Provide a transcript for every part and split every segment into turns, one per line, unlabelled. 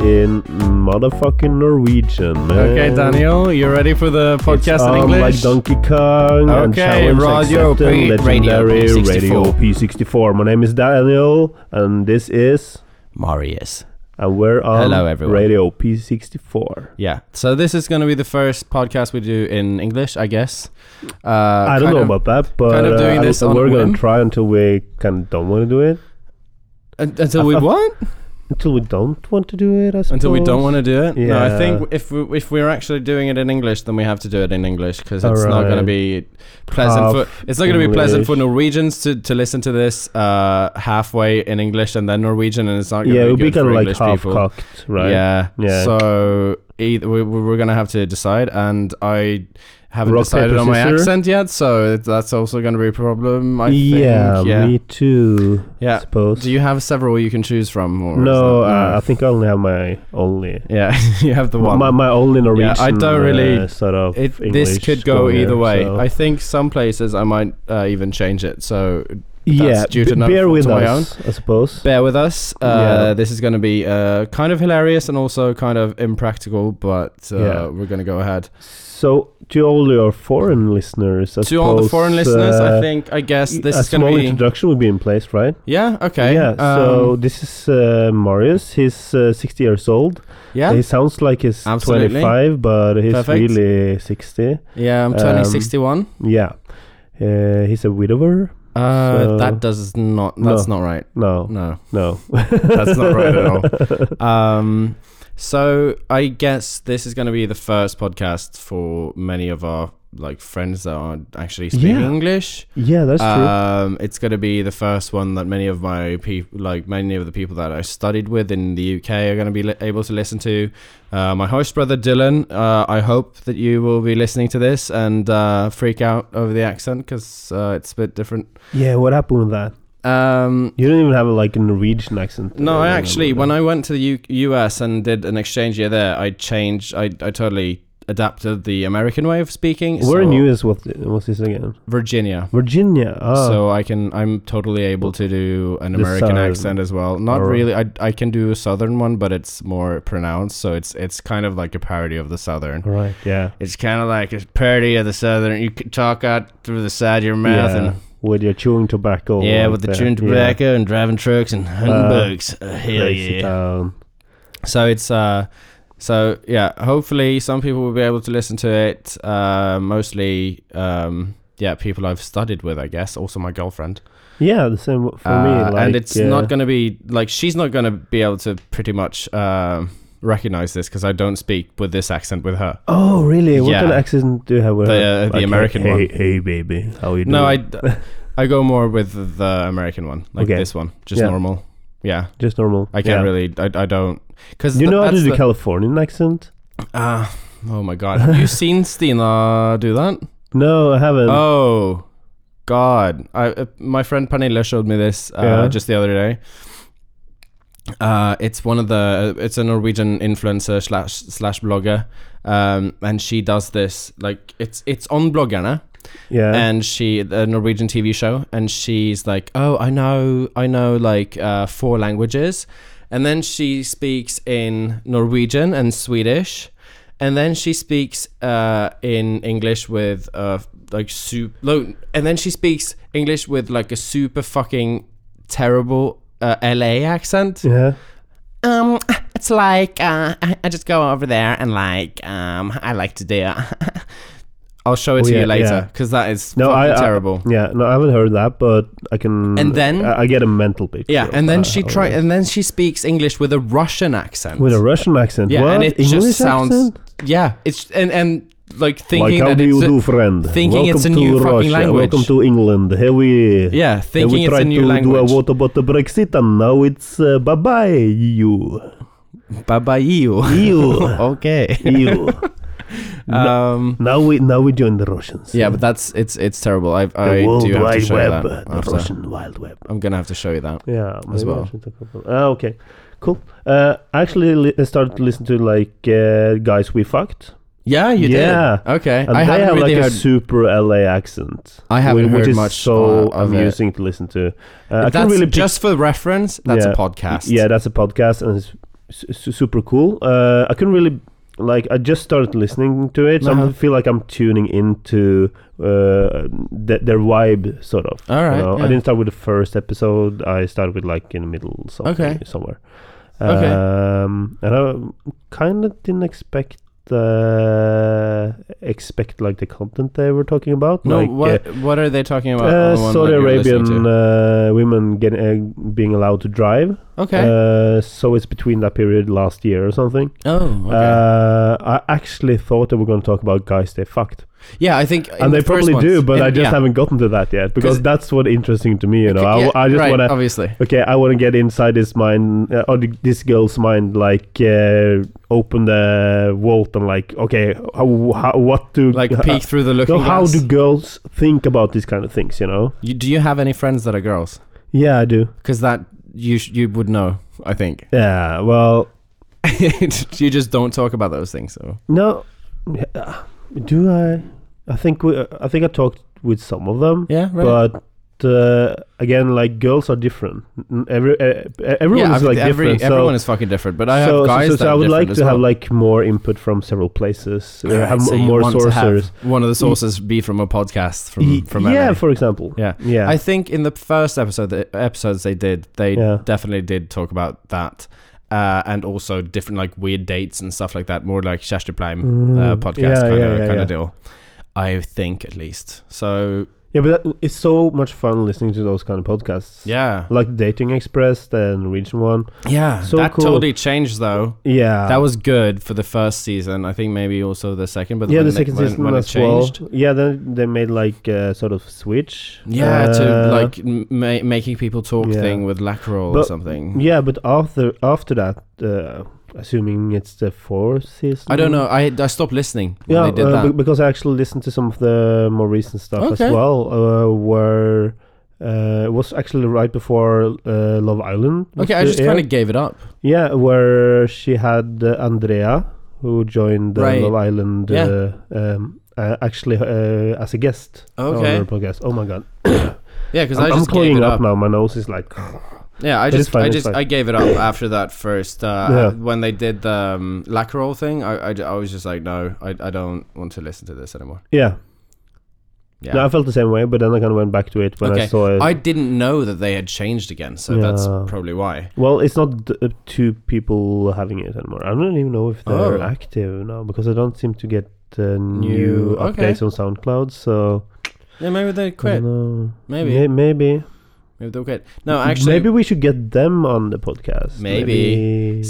in motherfucking Norwegian. Man.
Okay,
Um,
Daniel, you ready for the podcast
it's
in
on
English?
like Donkey Kong and
Okay,
Challenge
Radio
Accepted,
P-
Legendary
Radio P64.
Radio P64. My name is Daniel, and this is,
Marius.
and we're on
Hello, everyone.
Radio P64.
Yeah. So this is going to be the first podcast we do in English, I guess. Uh,
I don't
kind
know
of-
about that, but
kind of
uh,
doing
I-
this
I-
on a
we're
whim.
gonna try until we kind of don't want to do it.
Un- until we what?
Until we don't want to do it, I suppose.
Until we don't want to do it. No, I
Yeah.
think if we, if we're actually doing it in English, then we have to do it in English because it's not going to
Alright.
be pleasant
Half
for it's not going to be pleasant for
English.
Norwegians to, to listen to this uh, halfway in English and then Norwegian, and it's not going
Yeah,
to
it would
be
be
good
kind
for
of like
English
half
people.
cocked, right?
Yeah.
Yeah.
So either we, we- we're gonna have to decide, and I haven't
Rock,
decided
paper,
on my
scissor?
accent yet, so that's also gonna be a problem. I
yeah,
think. Yeah.
me too. I
Yeah.
suppose.
Do you have several you can choose from? Or is
no,
that-
uh, I think I only have my only.
yeah, you have the one.
My, my only Norwegian.
I don't really-
uh, sort of.
it,
English
this could go
going,
either way.
so-
I think some places I might uh, even change it. So
yeah,
that's due
b-
to no-
bear
to
with
my
us, I suppose.
bear with us. Uh,
Yeah.
This is going to be uh, kind of hilarious and also kind of impractical, but uh,
Yeah.
we're going to go ahead.
so to all your foreign listeners, I
to all the
suppose,
foreign listeners, I
uh,
think I guess this
a
is going
small
to be
introduction would be in place, right?
Yeah. Okay.
Yeah. so
um,
this is uh, Marius. He's uh, 60 years old.
yeah,
He sounds like he's
Absolutely.
25, but he's
Perfect.
really 60.
yeah. I'm turning
um,
sixty-one.
Yeah. Uh, he's a widower.
Uh,
so-
that does not. That's not right.
No,
No,
no.
that's not right at all. Um, so I guess this is going to be the first podcast for many of our like friends that are actually speaking
Yeah.
English.
Yeah, that's true.
Um, it's going to be the first one that many of my people, like many of the people that I studied with in the UK, are going to be li- able to listen to. Uh, my host brother Dylan, uh, I hope that you will be listening to this and uh, freak out over the accent because uh, it's a bit different.
Yeah, what happened with that?
Um,
You don't even have like a Norwegian accent.
no, I actually, when I went to the U- US and did an exchange year there, I changed. I, I totally adapted the American way of speaking.
where in
so-
US was th- was this again?
Virginia.
Virginia. Ah,
so I can I'm totally able to do an
The
American
southern-
accent as well. Not
Alright.
really. I I can do a southern one, but it's more pronounced. So it's it's kind of like a parody of the southern.
all right. Yeah.
It's kind of like a parody of the southern. You can talk out through the side of your mouth
yeah.
and
with your chewing tobacco.
yeah,
like
with the
that,
chewing
yeah.
tobacco and driving trucks and hunting
Uh,
bugs. Uh, hell
Place it
yeah!
down.
So it's uh, so yeah. Hopefully, some people will be able to listen to it. Uh, mostly um, yeah, people I've studied with, I guess. Also my girlfriend.
Yeah, the same w- for
Uh,
me. Like,
and it's
uh,
not going to be like she's not going to be able to pretty much um recognize this because I don't speak with this accent with her.
Oh really? What
Yeah.
kind of accent do you have? With
The,
her?
uh, the
Like,
American
hey,
one.
Hey, baby, how you doing?
No, I I go more with the American one, like
Okay.
this one, just
Yeah.
normal. Yeah,
just normal.
I can't
Yeah.
really. I, I don't because
You know how to do
the,
Californian accent?
Ah, oh my god, have you seen Stina do that?
No, I haven't.
Oh God! I uh, my friend Panila showed me this uh,
Yeah.
just the other day. Uh, it's one of the it's a Norwegian influencer slash slash blogger, um, and she does this like it's it's on eh? Bloggerne
yeah.
and she the Norwegian TV show, and she's like, "Oh, I know, I know, like uh, four languages," and then she speaks in Norwegian and Swedish, and then she speaks uh, in English with uh, like soup, no, and then she speaks English with like a super fucking terrible uh, LA accent.
yeah.
Um, it's like uh, I I just go over there and like um, I like to do. I'll show it
Oh,
to
yeah,
you later
yeah.
because that is
No,
fucking
I- I-
terrible.
Yeah, no, I haven't heard that, but I can.
And then-
I, I get a mental picture.
yeah,
of
and then
how-
she
how
try,
it is.
and then she speaks English with a Russian accent.
oh, with a Russian accent.
yeah,
what?
and it
English
just sounds
accent?
yeah, it's and and like
like
thinking
how
that
do
it's
you
a-
do, friend?
thinking
Welcome
it's a
to
new fucking
Russia.
language.
Welcome to England. Here we.
yeah,
here
thinking
we
it's
tried
a new
to do a
language.
what about the Brexit, and now it's uh, bye bye EU.
Baba you.
EU.
okay.
EU.
Um.
Now we now we join the Russians.
Yeah, but that's it's it's terrible. I
the
I
World
do have to
Wide
show
Web, uh,
you
the
that. after.
Russian Wild Web.
I'm gonna have to show you that.
Yeah, maybe I
well.
should talk about- Ah, okay, cool. Uh, I actually li- I started to listen to like uh, guys we fucked.
Yeah, you
Yeah.
did. Okay.
And they
I haven't
have
really
like
heard.
a super LA accent.
I haven't
whi- which
heard
is
much
so
uh, of it.
amusing to listen to. Uh, I
that's
can't really pick-
just for reference. That's
Yeah.
a podcast.
yeah, that's a podcast, and it's su- su- super cool. Uh, I couldn't really like. I just started listening to it, so I
Uh-huh.
feel like I'm tuning into uh, th- their vibe, sort of.
All
you
right,
know?
yeah.
I didn't start with the first episode. I started with like in the middle, something,
Okay.
somewhere.
Okay.
Um, and I kind of didn't expect uh, expect like the content they were talking about.
No,
like, uh,
what what are they talking about?
uh,
the one that
Saudi
you're listening
Arabian
to?
uh, women getting uh, being allowed to drive.
Okay.
Uh, so it's between that period last year or something.
oh, okay.
Uh, I actually thought that we are going to talk about guys they fucked,
yeah, I think, in
and they
the first
probably do,
ones-
but
in-
I just
yeah.
haven't gotten to that yet because
'Cause-
that's what interesting to me. You know, I,
Yeah,
I just
right,
want to.
obviously.
Okay, I want to get inside this mind uh, or th- this girl's mind, like uh, open the vault and like, okay, how, how what do
Like
uh,
peek through the looking
no, how
glass.
do girls think about these kind of things? You know?
you, do you have any friends that are girls?
Yeah, I do.
Because that you sh- you would know, I think.
Yeah, well,
you just don't talk about those things. So
no, yeah, do I? I think we, uh, I think I talked with some of them,
yeah, right.
but uh, again, like girls are different. N- Every uh, everyone
yeah,
is
I've-
like
every,
different. so-
Everyone is fucking different. But I have
so, so-
guys
so,
that
I
are
would like
different
to
as
have
well.
like more input from several places. uh,
Alright,
have
so
m-
you
more
want to have
sources.
One of the sources be from a podcast from
Y-
from
yeah,
LA.
for example.
Yeah.
yeah.
I think in the first episode, the episodes they did, they
Yeah.
definitely did talk about that, uh, and also different like weird dates and stuff like that. More like Shastupleim uh,
Mm.
podcast
Yeah,
kind
yeah,
of
yeah,
kind
yeah.
of deal. I think at least. So
yeah, but that, it's so much fun listening to those kind of podcasts.
yeah,
like Dating Express, the Norwegian one.
yeah,
So
that
cool.
totally changed though.
Yeah,
That was good for the first season. I think maybe also the second, but
yeah,
when
the
it-
second
when-
season
when it
as well. Yeah, then they made like uh, sort of switch.
Yeah, to
Uh,
like m- ma- making people talk
yeah.
thing with Lacroix or
But-
something.
Yeah, but after after that, uh, assuming it's the fourth season.
I don't know. I I stopped listening when
Yeah,
they did
uh,
that.
be- because I actually listened to some of the more recent stuff
Okay.
as well. Uh, where uh, it was actually right before uh, Love Island. was
okay, I
the
just
air.
kind of gave it up.
yeah, where she had uh, Andrea, who joined uh,
Right.
Love Island.
Yeah.
Uh, um, uh, actually, uh, as a guest
Okay.
on her podcast. Oh my god,
Yeah, because
I'm,
I
I'm
just gave
cleaning
it
up.
up.
now. My nose is like,
Yeah, I
But it's
just,
fine,
I
it's
just,
fine.
I gave it up after that first uh,
Yeah.
when they did the um, Lacroix thing. I, I, I was just like, no, I, I don't want to listen to this anymore.
yeah.
Yeah,
No, I felt the same way, but then I kind of went back to it when I
Okay.
saw it.
I didn't know that they had changed again, so that's
Yeah.
probably why.
Well, it's not d- uh, two people having it anymore. I don't even know if they're
Oh.
active now because I don't seem to get uh, new
New- okay.
updates on SoundCloud. So
Yeah, maybe they
I don't
quit.
know.
Maybe.
May- maybe,
Maybe they quit. No, actually,
maybe we should get them on the podcast.
Maybe.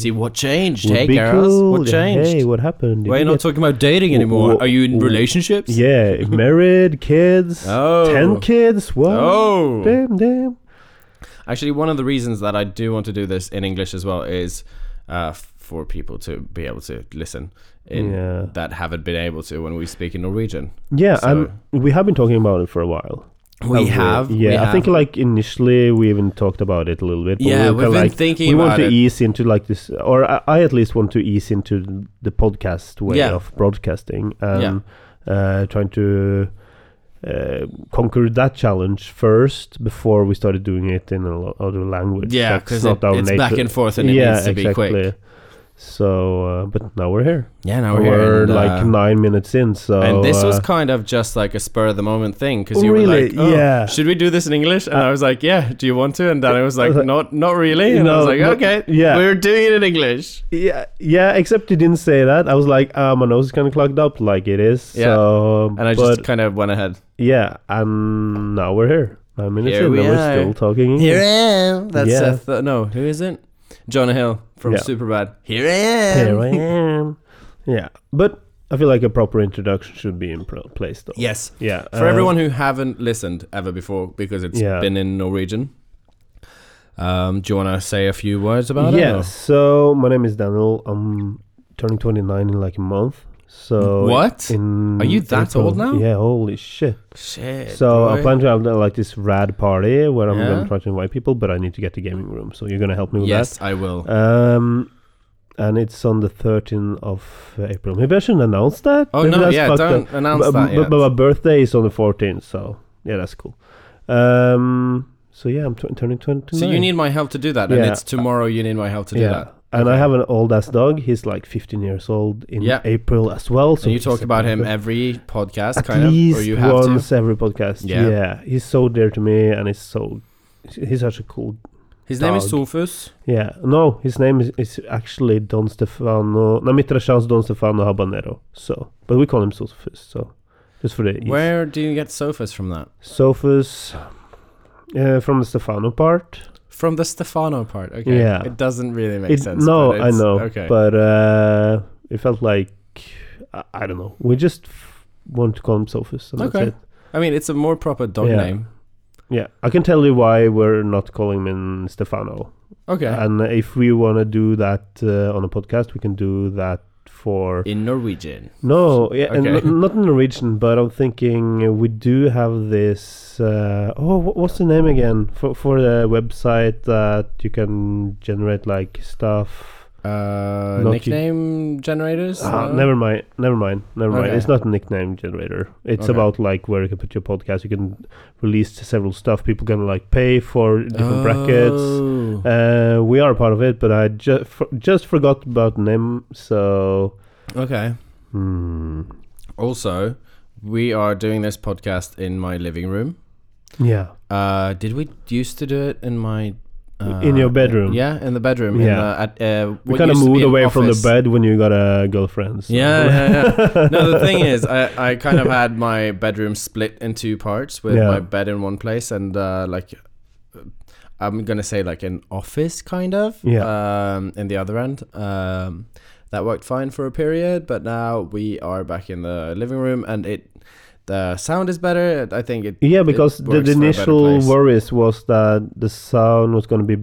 see what changed.
Would
hey,
be
girls,
cool.
what
Yeah,
changed?
Hey, what happened? Did
Why are
you
you not
get-
talking about dating anymore?
Wha-
Are you in
wha-
relationships?
yeah, married, kids,
Oh.
ten kids. What?
Oh.
Damn, damn.
Actually, one of the reasons that I do want to do this in English as well is uh, f- for people to be able to listen in
Yeah.
that haven't been able to when we speak in Norwegian.
Yeah,
So-
and we have been talking about it for a while.
We
Uh,
have.
Yeah, I
we
think
have.
like initially we even talked about it a little bit. but
Yeah,
we were
we've
kinda
been
like,
thinking
we want
about
to
it.
ease into like this, or I, I at least want to ease into the podcast way
Yeah.
of broadcasting and uh, trying to uh, conquer that challenge first before we started doing it in a lo- other language.
Yeah,
That's
because
not our
it's
nature.
back and forth and it
yeah,
needs to
exactly.
be quick.
So, uh, but now we're here.
Yeah, now
we're
we're, here. And,
like
uh,
nine minutes in. So
and this
uh,
was kind of just like a spur of the moment thing because
Oh,
you were
really?
like, oh,
Yeah. Uh,
should we do this in English? And I was like, yeah, do you want to? And then I was like,
was like,
not not really. And I was
no,
like,
no,
okay,
yeah.
we're doing it in English.
Yeah, yeah. Except you didn't say that. I was like, uh, my nose is kind of clogged up, like it is.
Yeah.
So,
And I
but
just kind of went ahead.
yeah, and now we're here. Nine minutes
Here
in,
we
and we're
are.
still talking. English.
Here I am. That's
Yeah.
Seth. uh, no, who is it? Jonah Hill from
Yeah.
Superbad. Here I am.
Here I am. Yeah, but I feel like a proper introduction should be in pro- place, though.
Yes.
Yeah.
For
uh,
everyone who haven't listened ever before, because it's
Yeah.
been in Norwegian, um, do you want to say a few words about it?
uh, yeah.
or-
So my name is Daniel. I'm turning 29 in like a month. So
What?
In
Are you that old now?
Yeah. Holy shit.
Shit.
So I
boy.
plan to have uh, like this rad party where I'm
Yeah.
gonna try to invite people, but I need to get the gaming room. So you're gonna help me with
Yes, I will.
that. Um, and it's on the 13th of April. Maybe I shouldn't announce that.
oh,
Maybe
no,
that's
yeah,
fucked up.
don't announce
But-
that
but,
yet.
but my birthday is on the 14th, so yeah, that's cool. Um, so yeah, I'm t- turning 29.
so you need my help to do that, and
Yeah.
it's tomorrow you need my help to do
yeah.
that.
And I have an old ass dog. He's like 15 years old in
Yeah.
April as well. So
and you
he's
talk
a
about him
perfect-
every podcast,
at
kind
least
of, or you have
once
to.
every podcast.
Yeah.
Yeah. he's so dear to me, and he's so he's such a cool.
His name is
dog.
Sofus.
Yeah, no, his name is, is actually Don Stefano. No, mitt Rashans Don Stefano Habanero. So, but we call him Sofus. So, just for the ease.
Where do you get Sofus from? That
Sofus uh, from the Stefano part.
from the Stefano part. Okay,
Yeah.
it doesn't really make
It-
sense.
no,
but
I
it's-
know,
Okay,
but uh, it felt like I, I don't know. We just f- want to call him Sofus. And
Okay.
That's it.
I mean it's a more proper dog
Yeah.
name.
Yeah, I can tell you why we're not calling him Stefano.
Okay,
And if we want to do that uh, on a podcast, we can do that for
in Norwegian.
no, yeah, and
Okay.
n- not in Norwegian, but I'm thinking we do have this. Uh, oh, wh- what's the name again for for the website that you can generate like stuff?
Uh,
Not
nickname generators.
Ah,
No?
never mind, never mind, never mind.
Okay.
It's not a nickname generator. It's
Okay.
about like where you can put your podcast. You can release several stuff. People can like pay for different brackets.
Oh.
Uh, we are part of it, but I just for, just forgot about Nim. So
okay.
hmm.
Also, we are doing this podcast in my living room.
yeah,
Uh, did we used to do it in my uh,
In your bedroom?
Yeah, in the bedroom.
Yeah.
Yeah. In the, at, uh,
we
what
kind of
used to be
moved
an
away from the
office.
bed when you got a girlfriend. so-
Yeah, yeah, yeah. no, the thing is, I, I kind of had my bedroom split in two parts with
Yeah.
my bed in one place and uh, like I'm gonna say like an office kind of.
Yeah.
Um, in the other end, um, that worked fine for a period, but now we are back in the living room and it the sound is better. I think it.
yeah,
it
because the,
works
the
for a better
initial
place.
worries was that the sound was going to be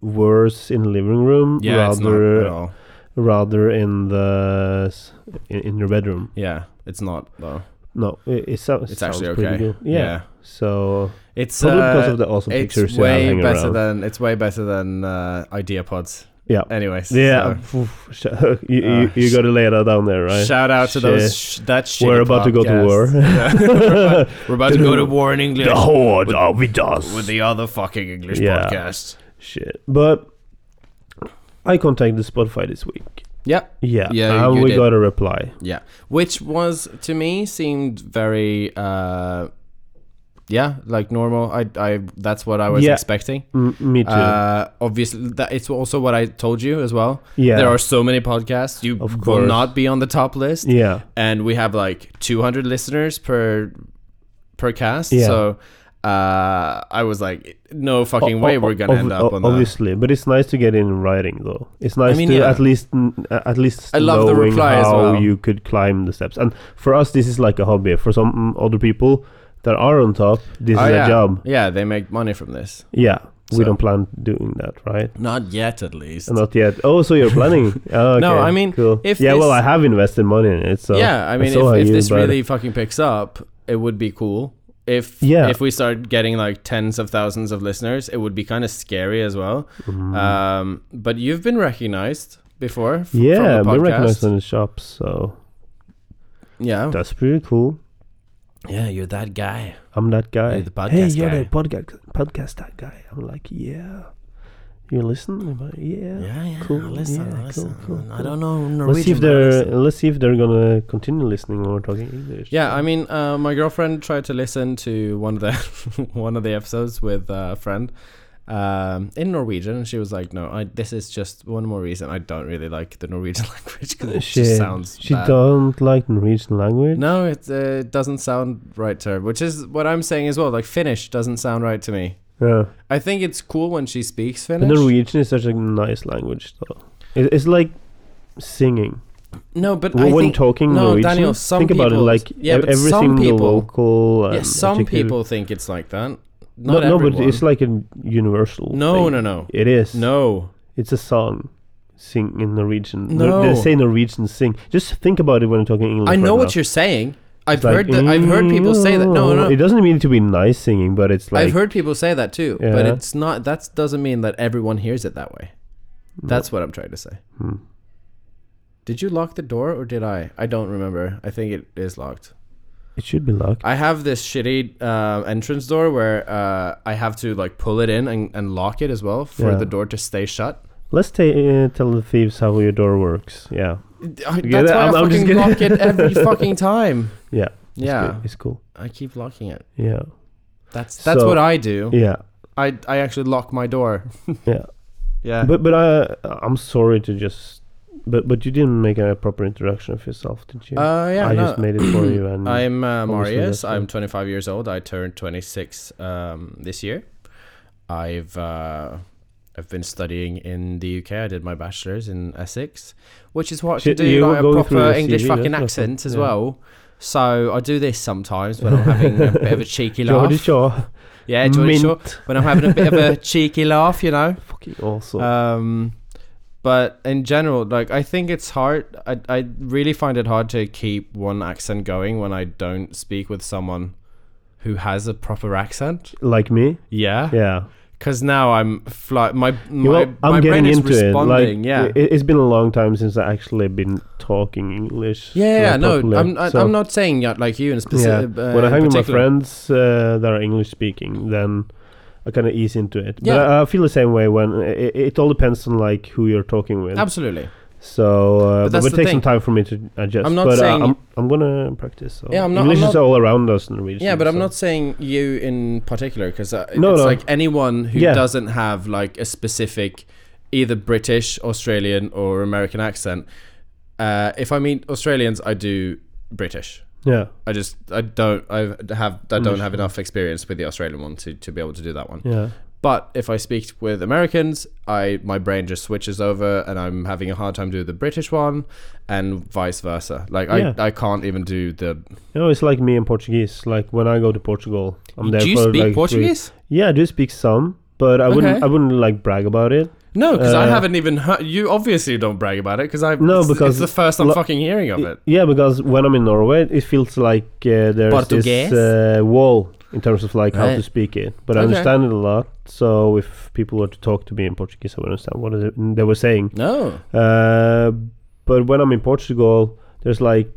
worse in the living room
Yeah, it's not at
rather
all.
rather in the s- in, in your bedroom.
Yeah, it's not though.
No, it, it sounds
It's
sounds
actually
pretty
okay.
good. Yeah. So
It's
probably
uh,
because of the awesome
it's
pictures you have
way
hanging
better
around.
than it's way better than uh, idea pods.
yeah.
Anyways,
Yeah,
so,
oof, sh- you,
Uh,
you, you got to lay that down there, right?
Shout out to
Shit.
those sh- that shit.
We're about to go to war.
We're about to go to war in English
the horde are with us.
with the other fucking English
Yeah.
podcast.
Shit, but I contacted Spotify this week.
Yep.
Yeah,
Yeah,
and
you
we
did.
got a reply.
Yeah. Which was to me seemed very uh yeah, like normal. I I that's what I was
Yeah.
expecting.
M- me too.
Uh obviously that it's also what I told you as well.
yeah,
There are so many podcasts. You
Of
will
course.
not be on the top list.
Yeah,
and we have like 200 listeners per per cast
Yeah.
so uh i was like no fucking
O-
way
o-
we're gonna
ob-
end up
o-
on that
obviously, but it's nice to get it in writing, though. It's nice
mean,
to
yeah.
at least n- uh, at least
I love the
knowing
reply
how
as well.
you could climb the steps. And for us, this is like a hobby. For some other people that are on top, this
Oh,
is
yeah.
a job.
yeah they make money from this
Yeah,
So-
we don't plan doing that, right?
not yet at least
Not yet. Oh, so you're planning? Oh, okay,
No, I mean,
cool.
if
yeah, well,
this-
I have invested money in it, so
yeah i mean
so are
if, if
you,
this
but-
really fucking picks up it would be cool if
Yeah.
if we start getting like tens of thousands of listeners it would be kind of scary as well
Mm.
um but you've been recognized before f-
yeah,
from the
we
podcast.
recognized in the shops, so
yeah
that's pretty cool.
yeah you're that guy
I'm that guy.
You're the podcast
hey, you're
guy.
the podcast podcast that guy. I'm like, yeah. You listen? I'm like, yeah.
Yeah, yeah.
Cool,
Listen,
yeah,
listen.
cool, cool,
I
cool.
don't know Norwegian.
Let's see if
but I
they're
listen.
let's see if they're gonna continue listening when we're talking English.
Yeah, I mean, uh, my girlfriend tried to listen to one of the one of the episodes with a friend um, in Norwegian, and she was like, "No, I, this is just one more reason I don't really like the Norwegian language because it just
Shit.
sounds
she
bad."
don't like Norwegian language.
No, it uh, doesn't sound right to her, which is what I'm saying as well. Like Finnish doesn't sound right to me.
Yeah.
I think it's cool when she speaks
But
Finnish.
Norwegian is such a nice language, though. It, it's like singing.
no, but I
When
think
talking
no,
Norwegian,
Daniel, some
think about it
people-
like
yeah,
ev-
but
every
some
single
people-
local.
yeah,
and
some
educated-
people think it's like that.
No,
Not
no,
everyone.
but it's like a universal.
No,
thing.
no, no.
It is.
No.
It's a song. Sing in Norwegian. Nor-
No.
They say Norwegian sing. Just think about it when you're talking English.
I know
right
what
now.
you're saying. I've
It's like,
heard that I've heard people say that. No, no.
It doesn't mean to be nice singing, but it's like
I've heard people say that too, but
Yeah.
it's not that doesn't mean that everyone hears it that way. That's what I'm trying to say.
Mm. Hmm.
Did you lock the door or did I? I don't remember. I think it is locked.
it should be locked.
I have this shitty uh, entrance door where uh, I have to like pull it in and, and lock it as well for
Yeah.
the door to stay shut.
Let's ta- uh, tell the thieves how your door works. Yeah,
I,
get
that's
it?
why i
I'm- I'm just
fucking
kidding.
lock it every fucking time.
yeah, it's
Yeah,
good. it's cool.
I keep locking it.
Yeah,
That's that's
So-
what I do.
yeah,
I I actually lock my door.
Yeah.
yeah.
but but I I'm sorry to just but but you didn't make a proper introduction of yourself, did you?
uh, yeah.
I
no.
just made it for you and
I'm uh,
Obviously,
Marius.
that's
I'm
good.
25 years old. I turned 26 um, this year. I've uh, I've been studying in the UK. I did my bachelor's in Essex, which is what you
Shit,
do
you
like a
were going through
proper
your CV,
English
that's
fucking
not
accent
fun.
as
Yeah.
well. So I do this sometimes when I'm having a bit of a cheeky laugh.
Geordie Shaw.
Yeah, Geordie Shore.
Mint.
When I'm having a bit of a cheeky laugh, you know.
Fucking awesome.
Um, but in general, like I think it's hard. I I really find it hard to keep one accent going when I don't speak with someone who has a proper accent.
like me?
Yeah,
Yeah.
because now I'm fly. My my,
You know,
my
I'm
brain
getting
is
into it. Like,
responding. yeah.
it, has been a long time since I actually been talking English.
yeah, yeah,
like,
no,
properly.
I'm I,
So,
I'm not saying uh, like you in
yeah.
specific. Uh,
when I
in
hang with my
particular.
friends uh, that are English speaking, then I kind of ease into it. But
Yeah.
I, I feel the same way when it, it all depends on like who you're talking with.
absolutely.
So, uh,
But
but,
that's
but
the
it takes
thing.
some time for me to adjust.
I'm not
but
saying-
uh, I'm, I'm gonna practice. So.
Yeah, I'm not-
English
I'm
is
not-
all around us in the region.
Yeah, but I'm
so-
not saying you in particular because uh,
No,
it's
no.
like anyone who
Yeah.
doesn't have like a specific either British, Australian, or American accent. Uh, if I meet Australians, I do British.
Yeah,
I just I don't I have I don't have
Understood.
enough experience with the Australian one to, to be able to do that one.
yeah,
But if I speak with Americans, I my brain just switches over and I'm having a hard time doing the British one and vice versa. Like
Yeah.
I, I can't even do the
you know, it's like me and Portuguese. Like when I go to Portugal, I'm there
Do you
for
speak
like three-
Portuguese?
Yeah, I do speak some, but I wouldn't.
Okay.
I wouldn't like brag about it.
No, because I
Uh,
haven't even heard. You obviously don't brag about it because I.
No,
it's, it's
because
the first I'm
lo-
fucking hearing of
I-
it.
Yeah, because when I'm in Norway, it feels like uh, there's
Portuguese?
this uh, wall in terms of like how
Right.
to speak it. But I
Okay.
understand it a lot. So if people were to talk to me in Portuguese, I would understand what it- they were saying.
No,
Uh, but when I'm in Portugal, there's like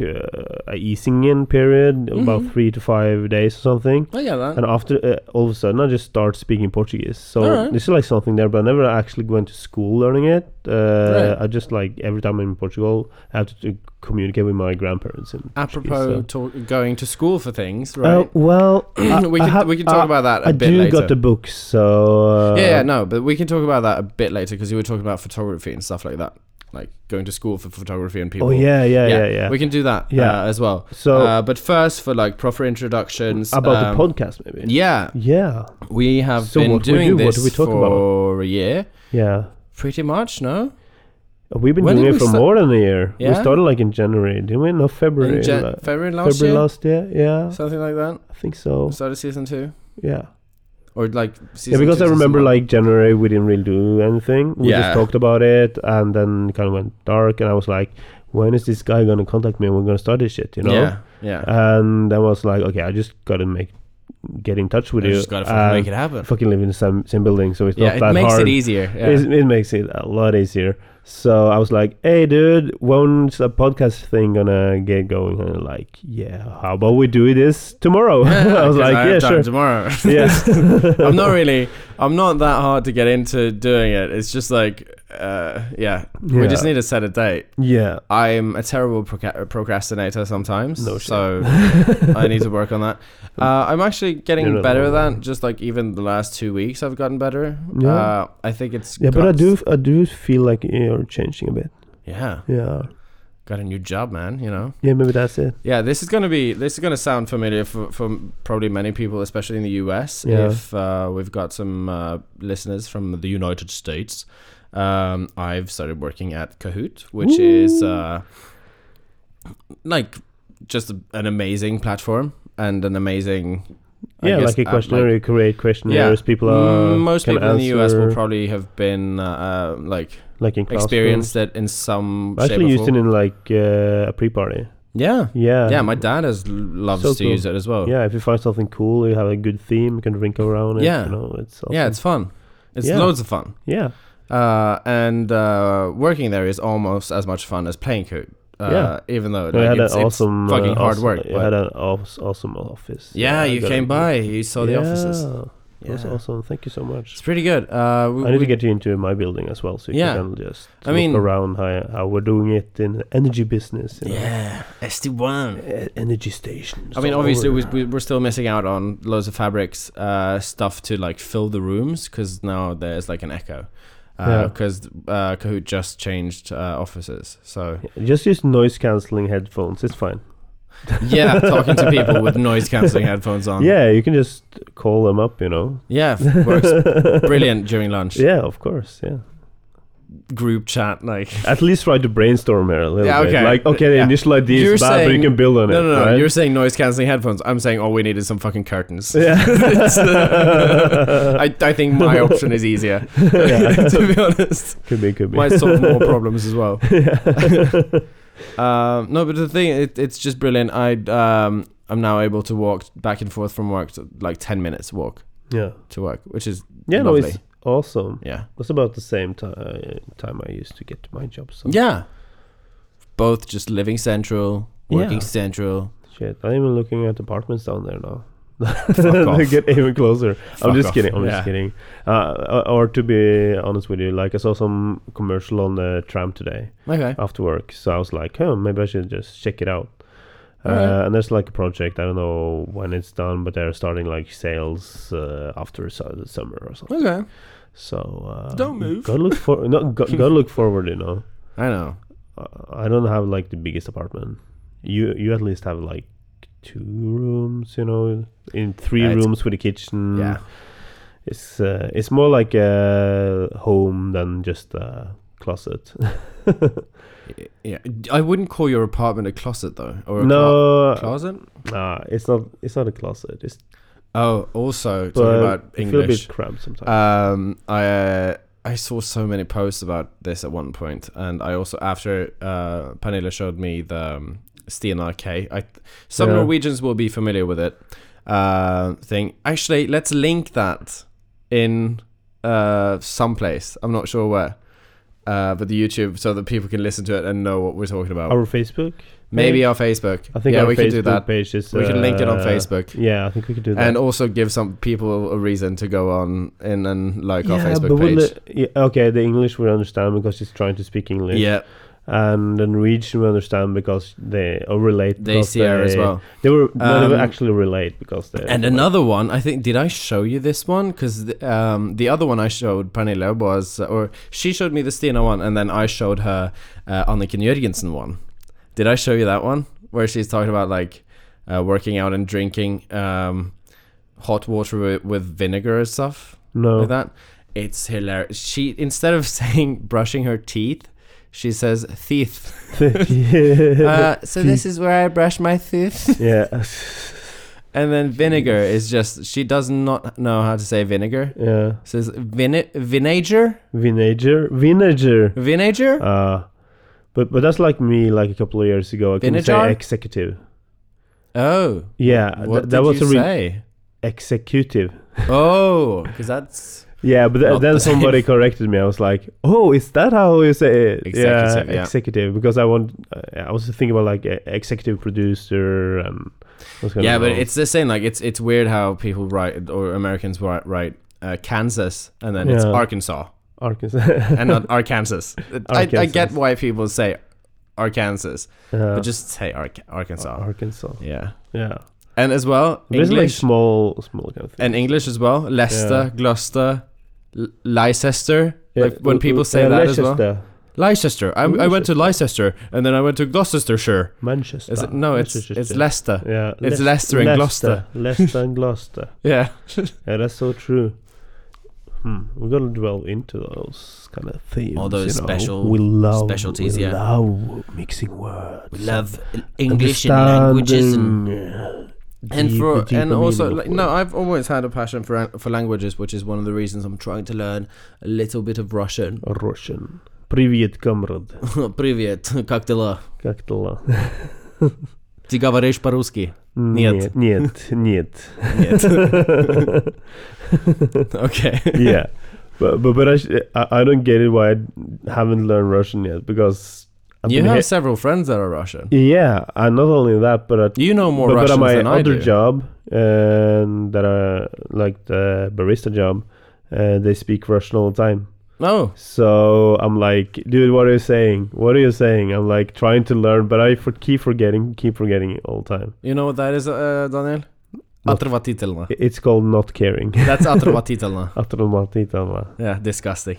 uh, a easing in period,
Mm-hmm.
about three to five days or something.
Oh, I get that.
And after, uh, all of a sudden, I just start speaking Portuguese. So
Alright.
this is like something there, but I never actually went to school learning it. Uh,
Right.
I just like every time I'm in Portugal, I have to, to communicate with my grandparents. In
Apropos
Portuguese,
to going to school for things,
so.
right?
Uh, well, I-
we
I
can
have-
we can talk
I-
about that a
I
bit
do
later.
got the books, so uh,
yeah, yeah, no, but we can talk about that a bit later because you were talking about photography and stuff like that, like going to school for photography and people.
Oh yeah, yeah, yeah, yeah.
We can do that
Yeah.
uh, as well.
So-
uh, but first for like proper introductions
about
um,
the podcast, maybe.
Yeah,
yeah,
we have
So
been
what we
doing
do, what
this
do we talk about?
for a year,
yeah.
pretty much. No,
We've been
When
doing
did
it
we
for
sta-
more than a year.
Yeah?
We started like in January, didn't we? No, February.
in Jan-
like-
February last
February
year,
last year. Yeah,
something like that.
I think so.
Start of season two,
Yeah.
or like
Yeah,
season
because
two,
I
season
remember
one.
like January we didn't really do anything. We
Yeah.
just talked about it, and then it kind of went dark. And I was like, "When is this guy gonna contact me? and We're gonna start this shit," you know.
yeah, yeah.
And I was like, "Okay, I just gotta make get in touch with
I
you.
just gotta fucking
and
make it happen.
fucking live in the same same building, so it's
Yeah,
not uh, that
it makes
hard.
it easier. Yeah.
It's- It makes it a lot easier. So I was like, "Hey, dude, when's the podcast thing gonna get going?" And like, "Yeah, how about we do this tomorrow?" I was
'Cause
like,
have
"Yeah,
time
sure."
Tomorrow,
yeah,
I'm not really. I'm not that hard to get into doing it. It's just like, uh, yeah, we
Yeah.
just need to set a date.
yeah.
I'm a terrible proca- procrastinator sometimes,
No shit.
so I need to work on that. Uh, I'm actually getting
You're not
better at
alone.
that. Just like even the last two weeks, I've gotten better.
Yeah.
Uh, I think it's
Yeah, but I
got-
do, I do feel like you're changing a bit.
Yeah,
Yeah,
got a new job, man. You know.
yeah, maybe that's it.
Yeah, this is gonna be this is gonna sound familiar for, for probably many people, especially in the US.
Yeah.
If uh, we've got some uh, listeners from the United States, um, I've started working at Kahoot, which is uh, like just a, an amazing platform and an amazing. I
yeah,
guess,
like a
app,
questionnaire, you create questionnaires. People are
Mm, most
can
people in the US will
answer,
probably have been uh, uh, like
like in classroom.
experienced it in some.
I
shape or
actually used it
form.
in like uh, a pre-party.
Yeah.
Yeah,
Yeah, my dad has loves
So
to
cool.
use it as well.
yeah. If you find something cool, you have a good theme, you can drink around it.
Yeah.
you know, it's awesome.
Yeah, it's fun. It's
Yeah.
loads of fun.
yeah,
Uh, and uh, working there is almost as much fun as playing Coot. Uh,
Yeah.
Even though
I
like,
had an
it's, it's
awesome,
fucking
uh,
hard
awesome,
work.
I
but-
had an aw- awesome office.
yeah,
I
you
got
came
a-
by. You saw the offices.
Yeah. That was
Yeah.
awesome. Thank you so much.
It's pretty good. Uh, we,
I need
we-
to get you into my building as well, so you
Yeah.
can just
I
look
mean-
around how, how we're doing it in energy business. You know?
Yeah, SD1.
E- energy stations.
I mean,
all
obviously,
over.
we, we- we're still missing out on loads of fabrics uh, stuff to like fill the rooms because now there's like an echo.
Yeah.
Because uh, Kahoot just changed uh, offices. So,
Yeah, just use noise canceling headphones. It's fine.
yeah, talking to people with noise cancelling headphones on.
yeah, you can just call them up. You know.
Yeah, f- works brilliant during lunch.
Yeah, of course. Yeah.
Group chat, like.
At least try to brainstorm here a little
Yeah,
bit.
okay.
Like, okay, the
Yeah.
initial idea
You're
is bad, but you
saying-
can build on
No,
it.
no, no.
right?
You're saying noise cancelling headphones. I'm saying all we need is some fucking curtains. It's, uh,
yeah.
I, I think my option is easier,
Yeah.
to be honest.
could be, could be.
Might solve more problems as well.
yeah.
Um, no, but the thing, it, it's just brilliant. I um, I'm now able to walk back and forth from work, to, like ten minutes walk
yeah.
to work, which is
Yeah, no,
lovely.
it's awesome.
yeah,
It was about the same ti- uh, time I used to get to my job. So
yeah. Both just living central, working
Yeah.
central.
shit. I'm even looking at apartments down there now. they
off.
get even closer. I'm
Fuck
just
off.
kidding. I'm just
Yeah.
kidding. Uh, or or to be honest with you, like I saw some commercial on the tram today.
Okay.
after work. So I was like, oh, maybe I should just check it out. Uh,
Alright.
And there's like a project. I don't know when it's done, but they're starting like sales uh, after su- the summer or something.
Okay.
So uh,
Don't move.
Gotta look for no. Go, gotta look forward. You know,
I know.
uh, I don't have like the biggest apartment. You you at least have like two rooms. You know, in three
Yeah, it's-
rooms with a kitchen.
Yeah.
It's uh, it's more like a home than just a closet.
Yeah. I wouldn't call your apartment a closet though, or a clo-
no, uh,
closet.
Nah, it's not. It's not a closet. It's
Oh, also
but
talking about
I feel a bit
English.
cramped sometimes.
Um, I uh, I saw so many posts about this at one point, and I also after uh, Pernilla showed me the um, STNRK. I some
Yeah.
Norwegians will be familiar with it. Uh, thing actually, let's link that in uh someplace. I'm not sure where. Uh, but the YouTube, so that people can listen to it and know what we're talking about.
our Facebook.
Maybe our Facebook.
I think
yeah,
our
we
Facebook
can do that.
page is.
we can link it on
uh,
Facebook.
Yeah, I think we could do that.
And also give some people a reason to go on in and like our
yeah,
Facebook page.
will it- yeah, okay, the English we understand because she's trying to speak English.
Yeah,
and the Norwegian we understand because they or relate.
they
because
see her as well.
They were no, they were
Um,
actually relate because they.
And another one, I think, did I show you this one? Because the, um, the other one I showed Pernilla was, or she showed me the Stina one, and then I showed her uh, Anniken Jørgensen one. Did I show you that one where she's talking about like uh, working out and drinking um, hot water with, with vinegar and stuff?
no.
like that. It's hilarious. She instead of saying brushing her teeth, she says teeth.
yeah.
Uh, so this is where I brush my teeth.
yeah.
and then vinegar is just she does not know how to say vinegar.
Yeah.
Says vine vinegar
Vinegar. Vinegar.
vinegar.
Uh, but but that's like me like a couple of years ago. I couldn't say
Vinegar?
executive.
oh,
Yeah, th-
what did
that was
you
a re-
say?
executive.
oh, because that's
Yeah, but th-
Not
then
the same.
somebody corrected me. I was like, "Oh, is that how you say it?"
Executive, yeah.
executive. Because I want. Uh, I was thinking about like e- executive producer and. those kind
yeah,
of
but
roles.
it's the same. Like it's it's weird how people write or Americans write write uh, Kansas and then it's
Yeah.
Arkansas.
Arkansas.
and not Arkansas. I, I get
Arkansas.
why people say Arkansas,
Yeah.
but just say Ark Arkansas.
Uh, Arkansas.
yeah.
Yeah,
And as well,
But it's like
English
small, small kind of thing.
and English as well. Leicester, Gloucester, L- Leicester.
Yeah,
like when
l-
people
l-
say
uh,
that as well.
Leicester,
Leicester. I, I went to Leicester and then I went to Gloucestershire.
Manchester.
Is it, no, it's
Manchester.
it's Leicester.
Yeah,
it's
Leicester-
Leicester and
Leicester. Leicester and Gloucester.
Yeah.
Yeah, that's so true. Hmm. We're gonna delve into those kind of themes.
All those
you know.
special-
we love,
specialties,
We
yeah.
love mixing words. Understanding, uh,
and
deep-
for
the deeper
and also
meaning of
like, no
words.
i've always had a passion for for languages which is one of the reasons i'm trying to learn a little bit of russian
Russian. Привет, комрад.
привет как дела
Как дела?
ты говоришь по-русски Нет.
Нет, нет, нет.
okay
yeah, but but, but I, sh- I I don't get it why I haven't learned Russian yet because I've
you
been
have
hea-
several friends that are Russian.
Yeah, and not only that, but at,
You know more
but, but at
Russians
my
than I
other
do.
job, um, that are like the barista job, uh, they speak Russian all the time.
No,
So I'm like, dude, what are you saying? What are you saying? I'm like trying to learn, but I for- keep forgetting, keep forgetting it all the time.
you know what that is, uh, Daniel?
What?
Отрывательно.
I- It's called not caring.
That's отрывательно.
Automatitama.
Yeah, disgusting.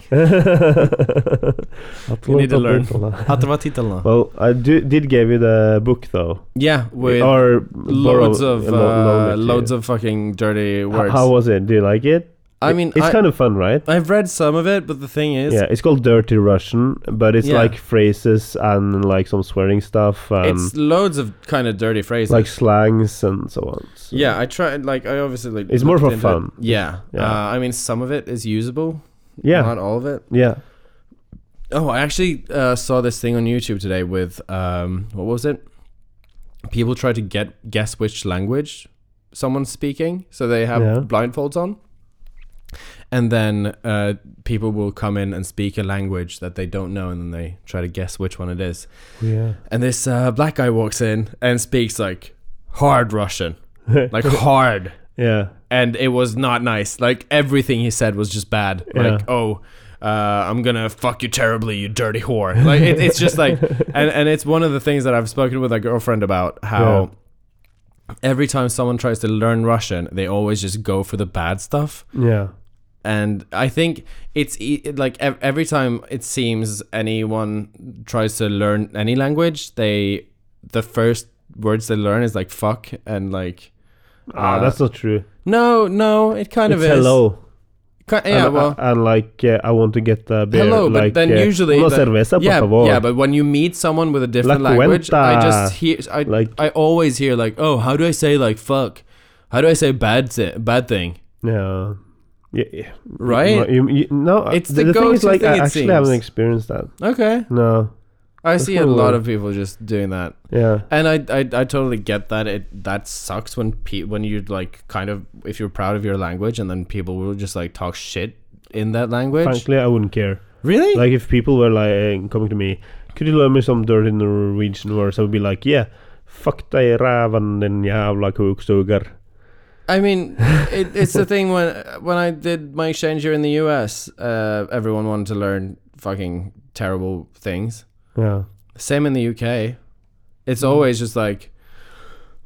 you
need to learn. Отрывательно.
Well, I do, did give you the book though,
Yeah, with
or
loads
borrow-
of
lo- loan it
uh,
to
loads
you.
of fucking dirty
H-
words.
How was it? Do you like it?
I
It-
mean,
it's
I,
kind of fun, right?
I've read some of it, but the thing is,
yeah, it's called Dirty Russian, but it's
Yeah.
like phrases and like some swearing stuff, and
it's loads of kind of dirty phrases.
um, like slangs and so on. So-
yeah, I tried. Like, I obviously like.
It's more
looked
for
into
fun.
it. Yeah,
Yeah.
Uh, I mean, some of it is usable.
yeah,
not all of it.
yeah.
Oh, I actually uh, saw this thing on YouTube today with um, what was it? People try to get guess which language someone's speaking, so they have
Yeah.
blindfolds on, and then uh, people will come in and speak a language that they don't know, and then they try to guess which one it is.
Yeah.
And this uh, black guy walks in and speaks like hard Russian, like hard
Yeah.
and it was not nice. Like everything he said was just bad. Like
Yeah.
oh, uh, I'm gonna fuck you terribly, you dirty whore. Like it, it's just like, and and it's one of the things that I've spoken with a girlfriend about how. Every time someone tries to learn Russian, they always just go for the bad stuff
Yeah.
and I think it's e- like ev- every time it seems anyone tries to learn any language, they the first words they learn is like fuck and like
Ah,
Uh,
that's not true.
no, no, it kind
it's
of is
hello.
Ki- yeah,
and,
well,
and like uh, I want to get a beer.
hello, but
like,
then
uh,
usually
una
but-
cerveza, por
yeah,
favor.
yeah, but when you meet someone with a different
La
language, I
cuenta.
just hear I
like
I always hear like oh how do I say like fuck, how do I say bad thi- bad thing
yeah. Yeah, yeah.
right?
You, you, no, it's
It's the
the, thing is
go-to
like
thing,
I
it
actually haven't
seems.
experienced that.
Okay,
No,
I
That's
see a
what I
lot
learned.
of people just doing that.
yeah,
And I, I, I totally get that. It that sucks when pe- when you like kind of if you're proud of your language and then people will just like talk shit in that language.
frankly, I wouldn't care.
really?
Like if people were like coming to me, could you learn me some dirty Norwegian words? I would be like, yeah, fuck dig raven din jävla kuksugar.
I mean, it, it's the thing when when I did my exchange here in the U.S., uh, everyone wanted to learn fucking terrible things.
Yeah,
Same in the U.K. It's
Mm-hmm.
always just like,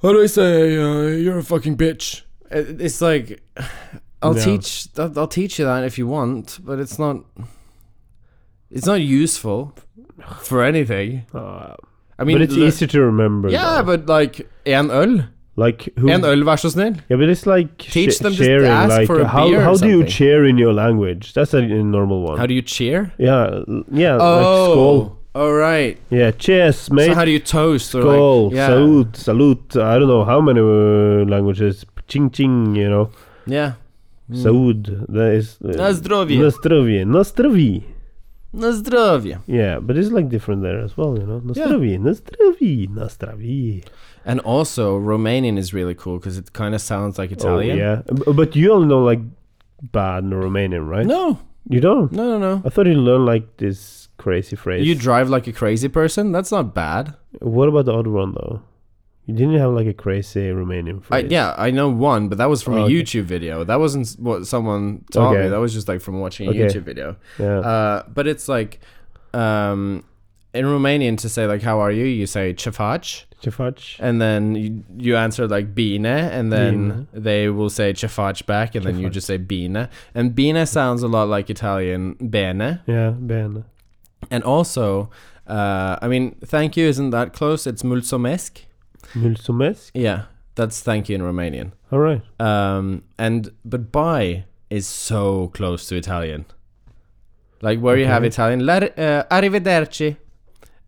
how do I say uh, you're a fucking bitch? It, it's like. I'll
Yeah.
teach. I'll, I'll teach you that if you want, but it's not. It's not useful for anything.
uh,
I mean,
but it's
le-
easy to remember.
Yeah,
though.
but like en öl,
like who?
en öl, vær så snill.
Yeah, but it's like
Teach them just to
cheering.
ask
like
for a
how
beer or
how do you
something.
cheer in your language? That's a, a normal one.
How do you cheer?
yeah, l- yeah, like skull.
Oh, all right.
Yeah, cheers, mate.
So how do you toast? Or
Skål,
like, yeah,
salute, salute. I don't know how many uh, languages. Ching ching, you know.
yeah. Hmm.
Saud. That is. Uh,
На здоровье.
На здоровье. На здоровье.
На здоровье.
Yeah, but it's like different there as well, you know. На
Yeah.
здоровье, на здоровье, на здоровье.
And also, Romanian is really cool because it kind of sounds like Italian.
Oh, yeah. B- But you only know like bad Romanian, right?
No,
You don't?
no, no, no.
I thought you learned like this crazy phrase.
You drive like a crazy person. That's not bad.
what about the other one though? You didn't have like a crazy Romanian
I,
phrase.
yeah, I know one, but that was from
Oh,
a
okay.
YouTube video. That wasn't s- what someone taught me.
Okay.
That was just like from watching a
Okay.
YouTube video.
Yeah.
Uh, but it's like um, in Romanian to say like "How are you?" You say "Cefaci,"
Cefaci.
and then you, you answer like "Bine," and then
Bine.
they will say "Cefaci" back, and then you
Cefaci.
just say "Bine," and "Bine" sounds a lot like Italian "Bene,"
Yeah, Ben.
and also. Uh, I mean, thank you isn't that close. It's mulțumesc.
Mulțumesc.
Yeah, that's thank you in Romanian.
All right.
Um, and but bye is so close to Italian. Like where you have
Okay.
Italian, la, uh, arrivederci.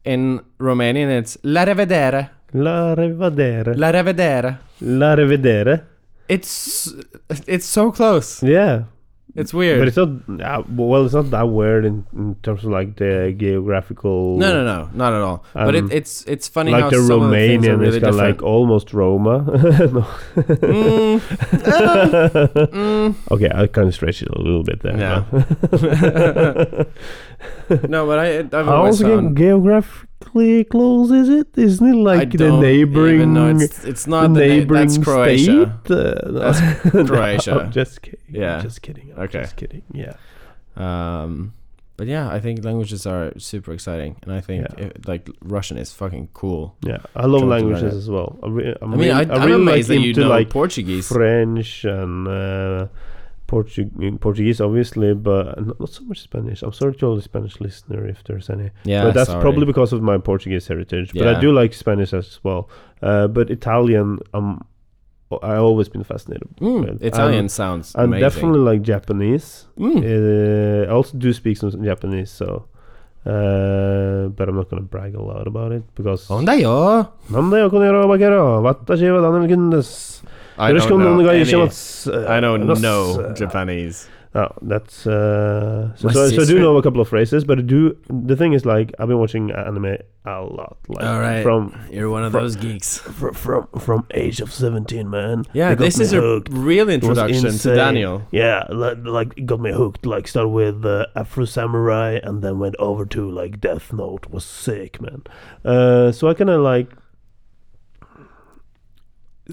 In Romanian, it's la rivedere,
La rivedere.
la rivedere.
La rivedere.
It's it's so close.
Yeah,
It's
but
weird.
it's not. Uh, well, it's not that weird in, in terms of like the geographical.
no, no, no, not at all. but it,
Um,
it's it's funny how
Like the
some of the things are
Romanian
really
is kind of
different.
like almost Roma. No.
Mm, uh, mm.
Okay, I kind of stretched it a little bit there.
Yeah.
but-
mm. no, but I I've
I
always
also
found
get geographic technically close, is it? Isn't it
I
like the
don't
neighboring?
even know. It's, it's
the
not the neighboring.
neighboring
that's Croatia.
state. Uh, no.
That's
No,
Croatia.
I'm just kidding. Yeah.
Yeah.
just kidding. I'm
Okay.
Just kidding. Yeah.
Um, but yeah, I think languages are super exciting, and I think
Yeah.
it, like Russian is fucking cool.
Yeah. I love
Trying to learn
languages
it.
as well. I, re- I'm
I mean, I,
really,
I'm
really
amazed
like
that you
into
know
like
Portuguese.
French and uh, Portu- Portuguese, obviously, but n- not so much Spanish. I'm sorry to all the Spanish listener if there's any.
yeah,
but that's
sorry.
probably because of my Portuguese heritage. But
Yeah.
I do like Spanish as well. Uh, but Italian, um, I always been fascinated.
Mm,
And-
Italian sounds
And
amazing.
Um, definitely like Japanese. Uh,
Mm.
I also do speak some Japanese, so. Uh, but I'm not gonna brag a lot about it because.
Oh, Ondayo.
Nande okonero bakero, watashi wa Daniel Gundes.
I
Yoroshiku
don't know
onegai
any-
shimasu.
I don't
Uh,
know
uh,
Japanese.
No, that's uh, so,
My
so, so I do
sister-
know a couple of phrases, but I do the thing is like I've been watching anime a lot, like
All right.
from
You're one of
Fro-
those geeks.
fr- from from age of seventeen, man.
Yeah,
It got
this
me
is a
hooked.
real
was
introduction to
insane.
Daniel.
Yeah, like, like it got me hooked. Like started with uh, Afro Samurai, and then went over to like Death Note. Was sick, man. Uh, so I kind of like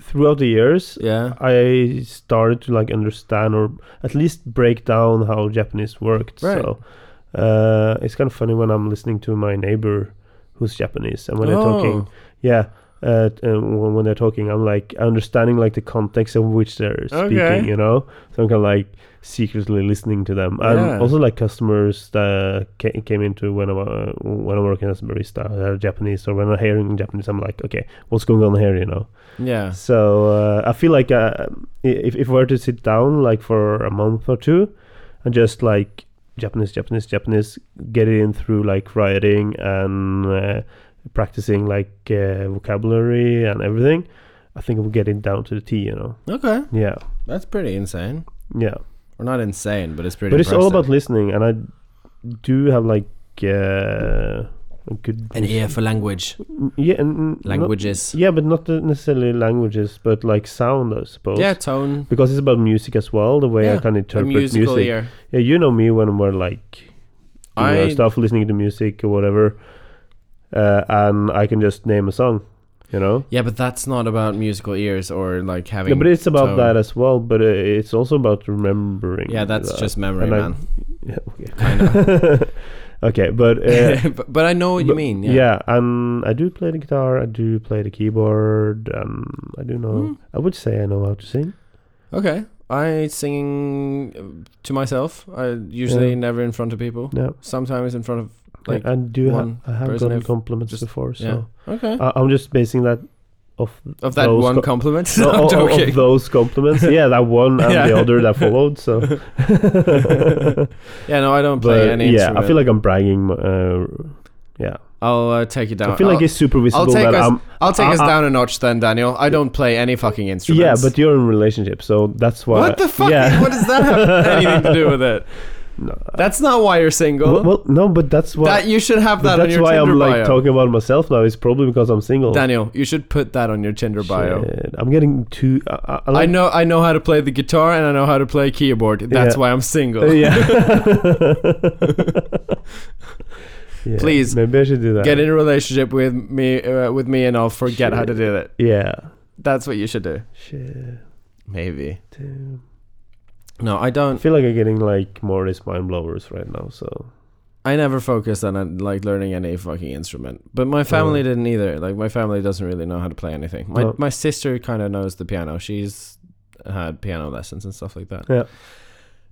throughout the years,
Yeah.
I started to like understand or at least break down how Japanese worked.
Right.
So uh, it's kind of funny when I'm listening to my neighbor who's Japanese and when
Oh.
they're talking, yeah, uh, t- uh, when when they're talking, I'm like understanding like the context of which they're
Okay.
speaking, you know. So I'm kind of like secretly listening to them. And
Yeah.
also like customers that ca- came into when I'm uh, when I'm working as a barista, they're Japanese, or when I'm hearing Japanese, I'm like, okay, what's going on here, you know?
Yeah.
So uh, I feel like uh, if if we were to sit down like for a month or two, and just like Japanese, Japanese, Japanese, get it in through like writing and uh, practicing like uh, vocabulary and everything, I think we'll get it down to the T. You know?
Okay.
Yeah,
That's pretty insane.
yeah.
Or not insane, but it's pretty.
But it's all about
impressive.
listening, and I do have like uh, a good
an ear for language,
yeah and not-
languages.
yeah, but not necessarily languages, but like sound, I suppose.
yeah, tone.
because it's about music as well. The way I
Yeah,
can
A
interpret music.
musical ear.
Yeah, you know me when we're like doing our
I
stuff, listening to music or whatever, uh, and I can just name a song. You know,
yeah, but that's not about musical ears or like having.
yeah, but it's about
tone.
that as well. But uh, it's also about remembering.
Yeah, that's
that.
just memory,
Uh, And I-
man.
yeah, okay. okay, but uh,
but, but I know what you
but-
mean.
yeah.
Yeah.
and I do play the guitar. I do play the keyboard. Um, I do know.
Hmm.
I would say I know how to sing.
Okay. I sing uh, to myself. I usually
Yeah.
never in front of people.
No,
Sometimes in front of. Like
I do. Ha-
one
I have
person
gotten
who've
compliments
just-
before, so.
yeah. Okay.
I- Uh, I'm just basing that off
Of that
those
one
co-
compliment.
no,
No, I'm
o- o-
joking.
of those compliments. Yeah, that one and
Yeah.
the other that followed. So,
yeah, no, I don't play
but
any
yeah,
instrument.
I feel like I'm bragging. Uh, yeah,
I'll uh, take you down.
I feel like
I'll-
it's super visible
take
that
us-
I'm.
I'll take
I-
us
I-
down a notch then, Daniel. I don't play any fucking
Yeah,
instruments.
but you're in a relationship, so that's why.
what the fuck?
Yeah.
What does that have anything to do with it?
No.
That's not why you're single.
Well, well, no, but that's why.
that you should have
but
that on
that's
your
why
Tinder
I'm
bio.
like talking about myself now. It's probably because I'm single.
Daniel, you should put that on your Tinder bio.
Shit, I'm getting too. I, I, I
I
like-
know I know how to play the guitar and I know how to play keyboard. That's
Yeah.
why I'm single.
Uh, Yeah. Yeah,
Please,
Maybe I should do that.
Get in a relationship with me uh, with me and I'll forget how to do it.
Yeah.
That's what you should do.
Shit.
Maybe.
Damn.
No, I
I
don't
feel like I'm getting like more of these mind blowers right now. So
I never focused on uh, like learning any fucking instrument, but my family
Oh.
didn't either. Like my family doesn't really know how to play anything. My
Oh.
my sister kind of knows the piano. She's had piano lessons and stuff like that.
Yeah.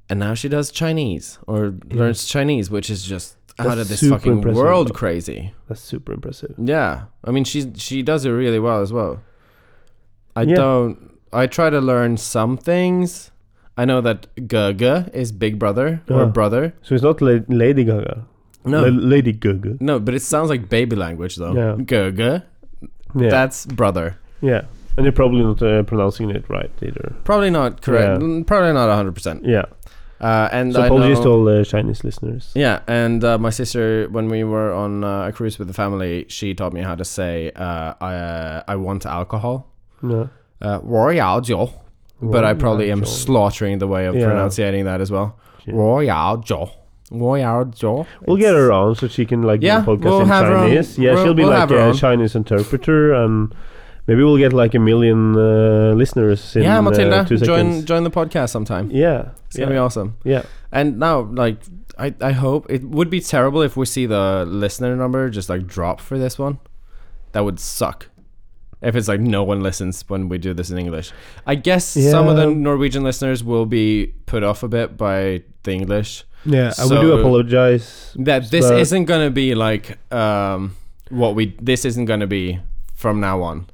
And now she does Chinese or
Yeah.
learns Chinese, which is just out
That's
of this
super
fucking
impressive.
world crazy.
that's super impressive.
Yeah. I mean, she she does it really well as well. I
Yeah.
don't. I try to learn some things. I know that Gaga is big brother or
Yeah.
brother.
So it's not la- Lady Gaga.
No,
La- Lady Gaga.
no, but it sounds like baby language though.
Yeah.
Gaga.
Yeah.
That's brother.
yeah. And you're probably not uh, pronouncing it right either.
Probably not correct.
Yeah.
Mm, Probably not 100%.
Yeah.
Uh, and
So
I
apologies
know-
to all the Chinese listeners.
Yeah, and uh, my sister, when we were on uh, a cruise with the family, she taught me how to say, uh, I, uh, I want alcohol.
No.
Uh, 我要酒, but I probably am
Royal Joe.
slaughtering the way of
Yeah.
pronouncing that as well.
Yeah.
我要酒. Why our jaw?
We'll get her on so she can like
Yeah,
do a podcast
we'll
in
have her on.
Chinese. Yeah,
We'll-
she'll be
we'll
like
have her
a
on.
Chinese interpreter, and maybe we'll get like a million uh, listeners in
yeah, Matilda,
uh, two
join
seconds.
join the podcast sometime.
yeah,
It's
yeah,
gonna be awesome.
yeah.
And now, like, I, I hope it would be terrible if we see the listener number just like drop for this one. That would suck. If it's like no one listens when we do this in English, I guess some of the
Yeah.
Norwegian listeners will be put off a bit by the English.
Yeah, I
So-
would do apologize.
That this
But-
isn't gonna be like um what we this isn't gonna be from now on.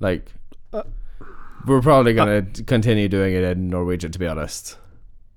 Like
Uh,
we're probably gonna continue doing it in Norwegian to be honest.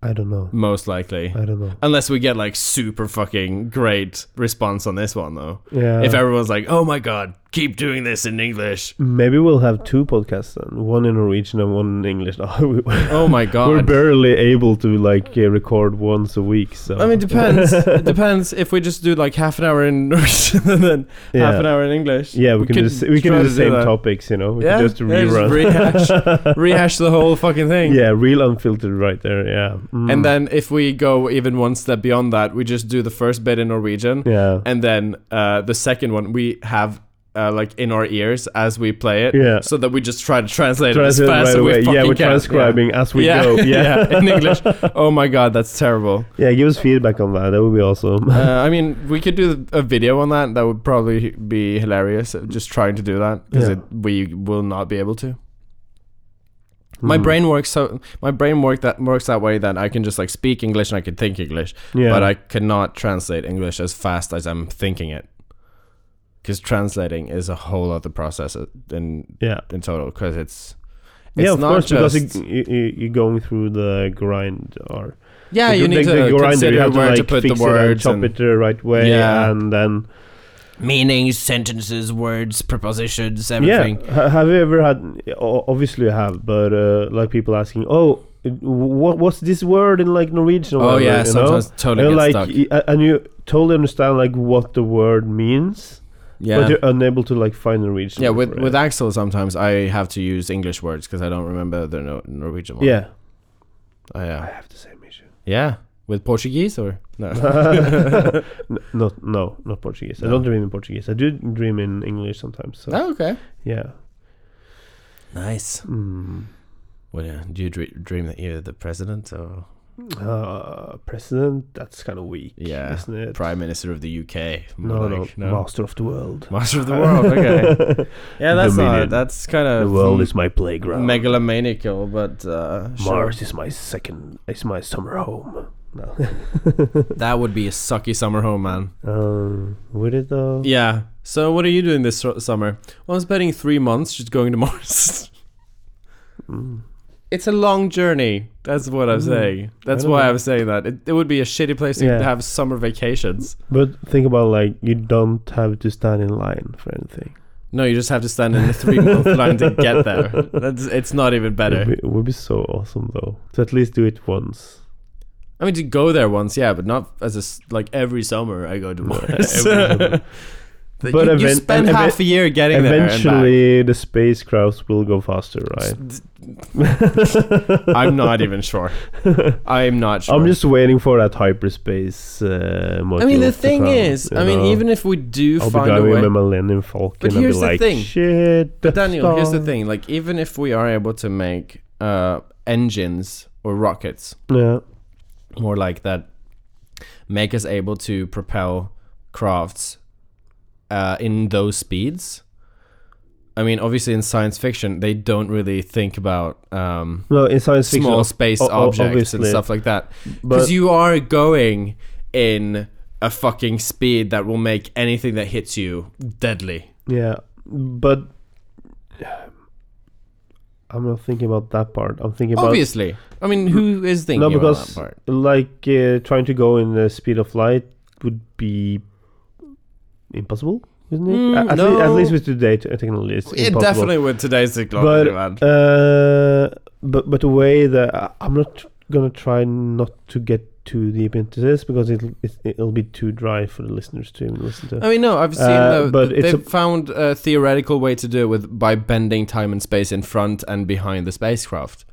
I don't know.
Most likely.
I don't know.
Unless we get like super fucking great response on this one though.
Yeah.
if everyone's like, Oh my god, keep doing this in English.
Maybe we'll have two podcasts then, one in Norwegian and one in English. No, we-
Oh my
We're
god.
barely able to like uh, record once a week, so
I mean depends. it depends if we just do like half an hour in Norwegian and then
yeah.
half an hour in English.
Yeah, we, can do the s- we can
try
do the
to
same
that.
topics, you know. We
Yeah,
can just
yeah, just
rerun.
rehash- Rehash the whole fucking thing.
yeah, real unfiltered right there. Yeah. Mm.
And then if we go even one step beyond that, we just do the first bit in Norwegian,
yeah.
and then uh, the second one we have uh, like in our ears as we play it,
Yeah.
so that we just try to
Translate
translate, it as fast
right
as we
away.
fucking
Yeah, we're
can.
transcribing as we
yeah.
go. Yeah.
Yeah,
yeah.
in English. Oh my god, that's terrible.
give us feedback on that. That would be awesome.
Uh, I mean, we could do a video on that. That would probably be hilarious. uh, Just trying to do that because
Yeah.
we will not be able to. My
Mm.
brain works so my brain work that works that way that I can just like speak English and I can think English,
Yeah.
but I cannot translate English as fast as I'm thinking it. Because translating is a whole other process uh, in
yeah.
in total. Because it's, it's
Yeah, of
not
course,
just,
because you, you, you- you're going through the grind or
yeah,
the,
Ah, you
the,
need to
the grinder, you
consider
have
where
to,
to
like,
put the
fix it and
words
chop
and
it the right way,
Yeah.
and then
meanings, sentences, words, prepositions,
Yeah. Ha- Have you ever had? o- Obviously, you have, but uh, like people asking, "Oh, what what's this word in like Norwegian?" Or
Oh
whatever,
yeah,
you
sometimes
know?
totally
and
get
like,
stuck.
y- a- and you totally understand like what the word means,
Yeah.
but you're unable to like find Norwegian.
yeah, with
for it.
with Axel sometimes I have to use English words because I don't remember the no- Norwegian one.
yeah,
Oh, yeah.
I have the same issue.
Yeah, with Portuguese or no?
N- not no, not Portuguese. I
No.
don't dream in Portuguese. I do dream in English sometimes. So
oh, okay.
yeah.
Nice.
Mm.
Well, yeah. Do you dre- dream that you're the president or
Uh, president, that's kind of weak,
Yeah,
isn't it?
prime minister of the UK?
no,
More like,
no, master of the world.
master of the world. Oh, Okay. Uh, yeah, that's
Dominion.
not, that's kind
The
of
world is my playground.
megalomaniacal, but uh, sure.
Mars is my second. Is my summer home. No.
That would be a sucky summer home, man.
um, would it though?
Yeah. So what are you doing this su- summer? Well, I'm spending three months just going to Mars.
Mm.
it's a long journey. That's what I'm
Mm.
saying. That's
don't
why
know.
I'm saying that. It, it would be a shitty place to
Yeah.
have summer vacations.
But think about like you don't have to stand in line for anything.
No, you just have to stand in a three month line to get there. That's, it's not even
It
better.
would, be, it would be so awesome though. To at least do it once.
I mean, to go there once, yeah, but not as a s like every summer I go to Mars.
Every-
but
But
you, you
event-
spend
and-
half a year getting there.
Eventually, the space crafts will go faster, right?
and back. I'm not even sure. I'm not sure.
I'm just waiting for that hyperspace. Uh,
I mean,
module
the
to
thing
come,
is,
you
I mean,
know?
even if we do
I'll be
find a
driving
way,
my Millennium Falcon
But
and
here's
be
the
like,
thing.
shit.
But
Death
Daniel, here's the
Star."
thing: like, even if we are able to make uh, engines or rockets,
Yeah.
more like that, make us able to propel crafts uh, in those speeds. I mean, obviously, in science fiction, they don't really think about um,
No, in science fiction,
small
ob-
space
o- o-
objects and
obviously.
stuff like that.
but
Because you are going in a fucking speed that will make anything that hits you deadly.
yeah, but I'm not thinking about that part. I'm thinking about
Obviously, I mean, who is thinking
no,
about that
because
part?
like uh, trying to go in the speed of light would be impossible, isn't it?
Mm,
A- at, lea- at
no.
least with today t- technology, it's
It
impossible.
definitely with today's technology, man.
Uh, but but the way that I- I'm not gonna try not to get too deep into this because it'll it, it'll be too dry for the listeners to even listen to.
I mean, no, I've seen.
Uh,
the,
but
but
it's
they've found a theoretical way to do it with by bending time and space in front and behind the spacecraft,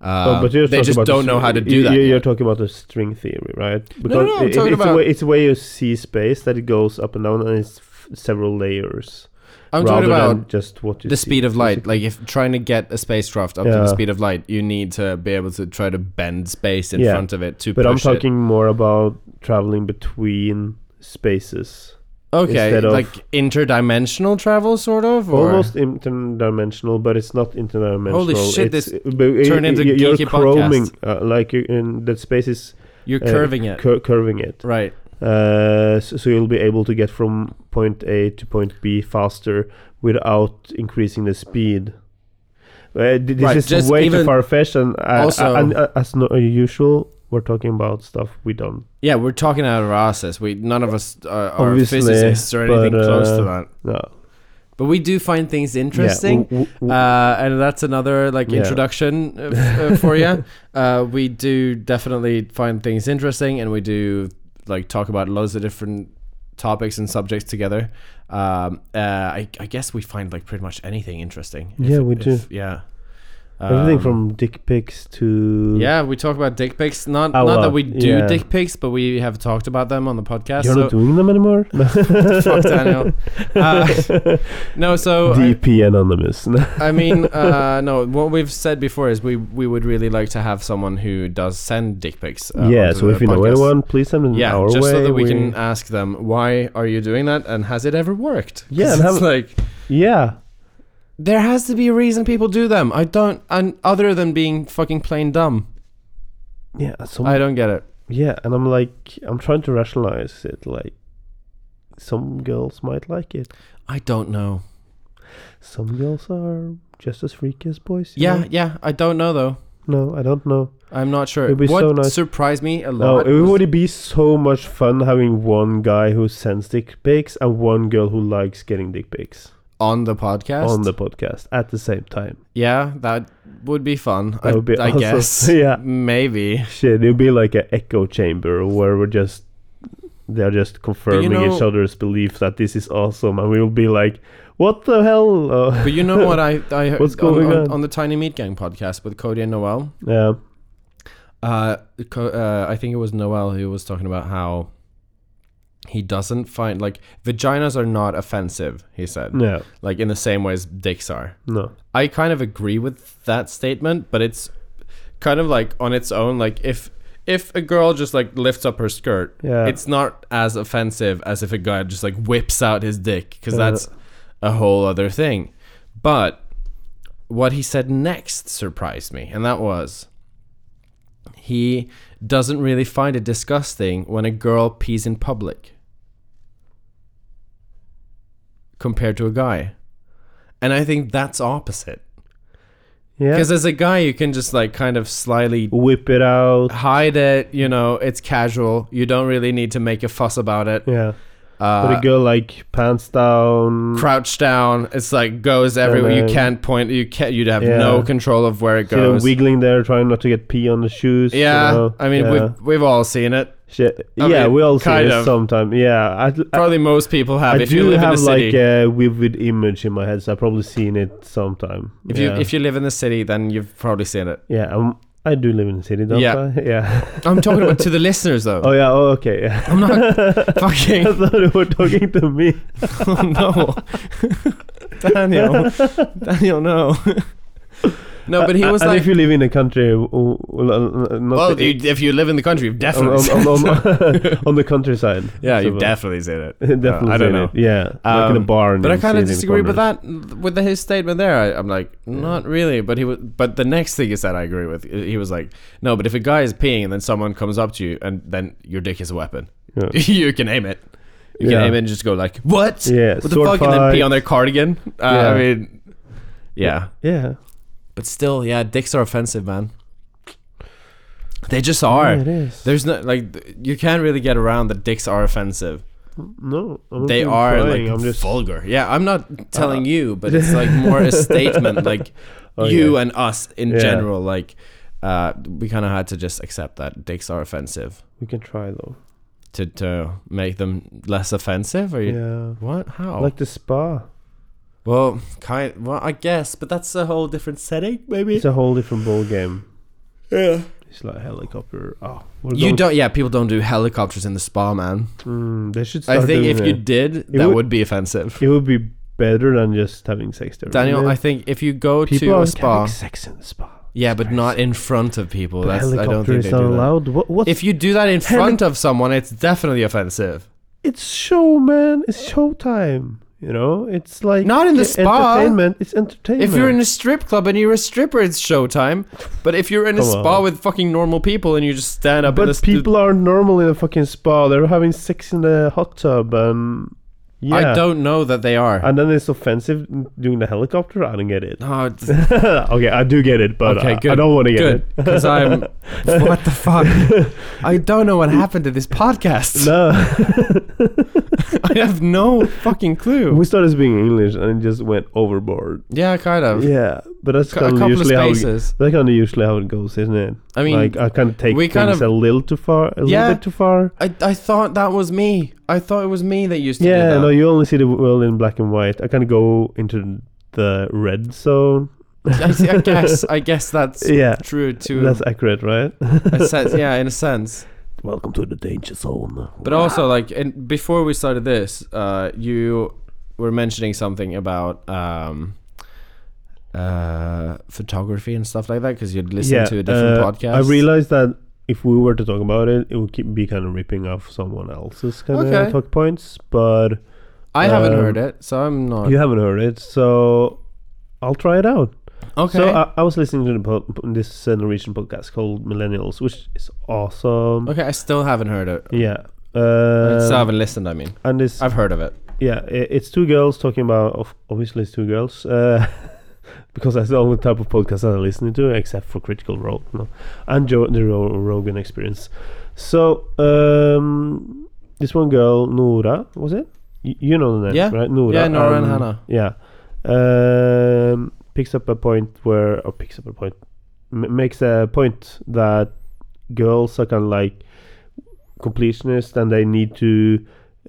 Uh,
Oh, but you're
they
talking
just
about the
don't know
string-
how to do
you-
that.
You're,
yet.
talking about the string theory, right?
no, I'm
it-
talking
it's, a
about-
way, it's a way you see space that it goes up and down and it's f- several layers.
I'm talking
rather
about
than just what you
the
see
speed of light.
physically.
Like if trying to get a spacecraft up to
Yeah.
the speed of light, you need to be able to try to bend space in
Yeah.
front of it to
but I'm
push it.
talking more about traveling between spaces,
okay,
instead of-
like interdimensional travel, sort of. Or?
almost interdimensional, but it's not interdimensional.
shit,
it's,
this
but
turned into
you're
geeky
chroming, uh, like you in that space is
You're
uh,
curving it.
cur- curving it.
Right.
Uh, so, so you'll be able to get from point A to point B faster without increasing the speed. Uh, th- this
Right,
is
just
way too
even-
far fetched, and, uh,
Also-
and uh, as no, usual, we're talking about stuff we don't.
Yeah, we're talking out of our asses. We none of us are, are
Obviously,
physicists or
but,
anything close to
uh,
that.
No.
But we do find things interesting.
Yeah, w- w- w-
Uh, and that's another like
Yeah.
introduction uh, f- uh, for you. Uh, we do definitely find things interesting, and we do like talk about loads of different topics and subjects together. Um, uh, I, I guess we find like pretty much anything interesting.
Yeah, we do.
Yeah,
everything
Um,
from dick pics to
yeah. We talk about dick pics. Not
A
not that
lot,
we do
yeah.
dick pics, but we have talked about them on the podcast.
You're
so-
not doing them anymore.
Fuck Daniel. Uh, no, so I- Oh,
DP anonymous.
I mean, uh, no. What we've said before is we we would really like to have someone who does send dick pics. Uh,
yeah.
onto
So
the
if you know
podcast.
anyone, please send them
yeah,
our
just
way.
so that we, can
we-
ask them why are you doing that and has it ever worked? 'Cause
Yeah, and have-
it's like uh,
Yeah.
there has to be a reason people do them. I don't, and other than being fucking plain dumb,
Yeah. Some
I don't get it.
Yeah, and I'm like, I'm trying to rationalize it. Like, some girls might like it.
I don't know.
Some girls are just as freaky as boys. you
Yeah,
know?
yeah, I don't know though.
No, I don't know.
I'm not sure.
It'd be
what
so nice.
surprised me a
No,
lot.
it
was-
would be so much fun having one guy who sends dick pics and one girl who likes getting dick pics
on the podcast.
on the podcast at the same time.
yeah, that would be fun. I,
That would be
I
awesome.
guess.
yeah.
Maybe.
Shit, it'd be like an echo chamber where we're just they're just confirming each
know-
other's belief that this is awesome, and we'll be like, "What the hell?" Uh,
But you know what I, I heard
What's
on,
going
on,
on?
on the Tiny Meat Gang podcast with Cody and Noel.
yeah.
Uh, Co- uh, I think it was Noel who was talking about how he doesn't find like vaginas are not offensive. He said
No,
like in the same way as dicks are.
no.
I kind of agree with that statement, but it's kind of like on its own. Like if if a girl just like lifts up her skirt,
Yeah.
it's not as offensive as if a guy just like whips out his dick because
Yeah.
that's a whole other thing. But what he said next surprised me, and that was he doesn't really find it disgusting when a girl pees in public compared to a guy. And I think that's opposite.
yeah.
Because as a guy, you can just like kind of slyly
Whip it out.
hide it. You know, it's casual. You don't really need to make a fuss about it.
Yeah. But
Uh,
a girl like pants down.
crouch down. It's like goes everywhere. You
then-
can't point. You can't. You'd have
Yeah.
no control of where it
you know,
goes.
wiggling there, trying not to get pee on the shoes. you
yeah,
know?
I mean,
yeah.
we've we've all seen it.
Shit.
I
yeah,
mean,
we all see
kind
it
of.
sometime. Yeah, I, I,
Probably most people have.
I
if you
do
live in the
have
city,
like a vivid image in my head, so I've probably seen it sometime.
if
yeah.
you if you live in the city, then you've probably seen it.
yeah, um, I do live in the city, don't
Yeah.
I? Yeah.
I'm talking about to the listeners though.
Oh yeah. Oh okay. Yeah.
I'm not
I
fucking.
thought you were talking to me.
oh no, Daniel, Daniel, no, no. But he was
and
like,
if you live in a country, w- w- w- not
well, you, if you live in the country, you've
on,
definitely,
on,
seen
on,
it.
on, on the countryside.
oh, yeah,
So,
you've
uh,
definitely seen it. Uh,
definitely.
I
seen
don't know.
It. Yeah, like in a
Um,
bar. and
But I
you
kind
see it
of
in
disagree with
corners.
that. With the, his statement there, I, I'm like, not really. But he was. But the next thing is that I agree with. He was like, no. But if a guy is peeing and then someone comes up to you and then your dick is a weapon,
Yeah.
you can aim it. You can
Yeah.
aim it and just go like, what?
Yeah,
What the
sword
fuck? And then pee
fight.
on their cardigan. Uh, I
Yeah.
mean, yeah.
Yeah,
But still, yeah, dicks are offensive, man. They just are.
Yeah, it is.
There's no like th- you can't really get around that dicks are offensive.
no, I'm not
They
even
are
trying,
like
I'm just Uh,
vulgar. Yeah, I'm not telling you, but it's like more a statement like
Oh,
you
yeah.
and us in
Yeah.
general like uh, we kind of had to just accept that dicks are offensive
we can try though.
to to make them less offensive or you,
Yeah,
what how
like the spa.
well kind well I guess but that's a whole different setting maybe
It's a whole different ball game.
Yeah.
It's like helicopter. Oh, we're
You
going-
don't. Yeah, people don't do helicopters in the spa, man.
Mm, they should. Start
I think
doing
if
it.
you did, that
would-
would, be offensive.
it would be better than just having sex there.
Daniel,
wouldn't
I
it?
think if you go
people
to a
aren't
spa,
having sex in the spa.
yeah, but
Sorry.
not in front of people.
But
That's I
helicopter
don't think they
is not
do that.
allowed. What? What?
If you do that in front of someone, it's definitely offensive.
it's show, man. It's showtime. You know, it's like
Not in the
e-
spa.
Entertainment. It's entertainment.
If you're in a strip club and you're a stripper, it's showtime. But if you're in a
Come
spa
on.
with fucking normal people and you just stand up, in the
but
stu-
people are normal in a fucking spa. They're having sex in the hot tub, and yeah.
I don't know that they are.
And then it's offensive doing the helicopter. I don't get it.
no, it's-
okay, I do get it, but
Okay,
I- I
good,
don't want to get
good
it.
because I'm. what the fuck? I don't know what happened to this podcast.
No,
I have no fucking clue.
we started speaking English and it just went overboard.
Yeah, kind of.
Yeah, but that's
C- a
kind of
couple of
usually how it,
spaces.
that's kind of usually how it goes, isn't it?
I mean,
like I kind of take
we
things
kind
a little too far, a
Yeah.
little bit too far.
I, I thought that was me. I thought it was me that used to
Yeah,
do
no,
that.
you only see the world in black and white. I kind of go into the red zone.
I, see- I guess I guess that's
yeah,
true to
that's accurate, right?
a sense. Yeah, in a sense.
Welcome to the danger zone.
But also, like, and before we started this, uh, you were mentioning something about um, uh, photography and stuff like that because you'd listen to a different
uh,
podcast.
I realized that if we were to talk about it, it would keep, be kind of ripping off someone else's kind
Okay.
of talk points, but
I haven't
um,
heard it, so I'm not.
you haven't heard it, so I'll try it out.
okay.
So I, I was listening to the po- this uh, Norwegian podcast called Millennials, which is awesome.
okay, I still haven't heard it.
Yeah.
I
Uh,
still haven't listened. I mean,
and this,
I've heard of it.
yeah, i- it's two girls talking about. Of, obviously, it's two girls uh, because that's the only type of podcast that I listen to, except for Critical Role no. and jo- the Ro- Rogan Experience. So um, this one girl, Nora, was it? Y- you know the name,
Yeah.
right? Nora.
Yeah, Nora and Hannah.
Yeah. Um, picks up a point where, or picks up a point, m- makes a point that girls are kind of like completionist and they need to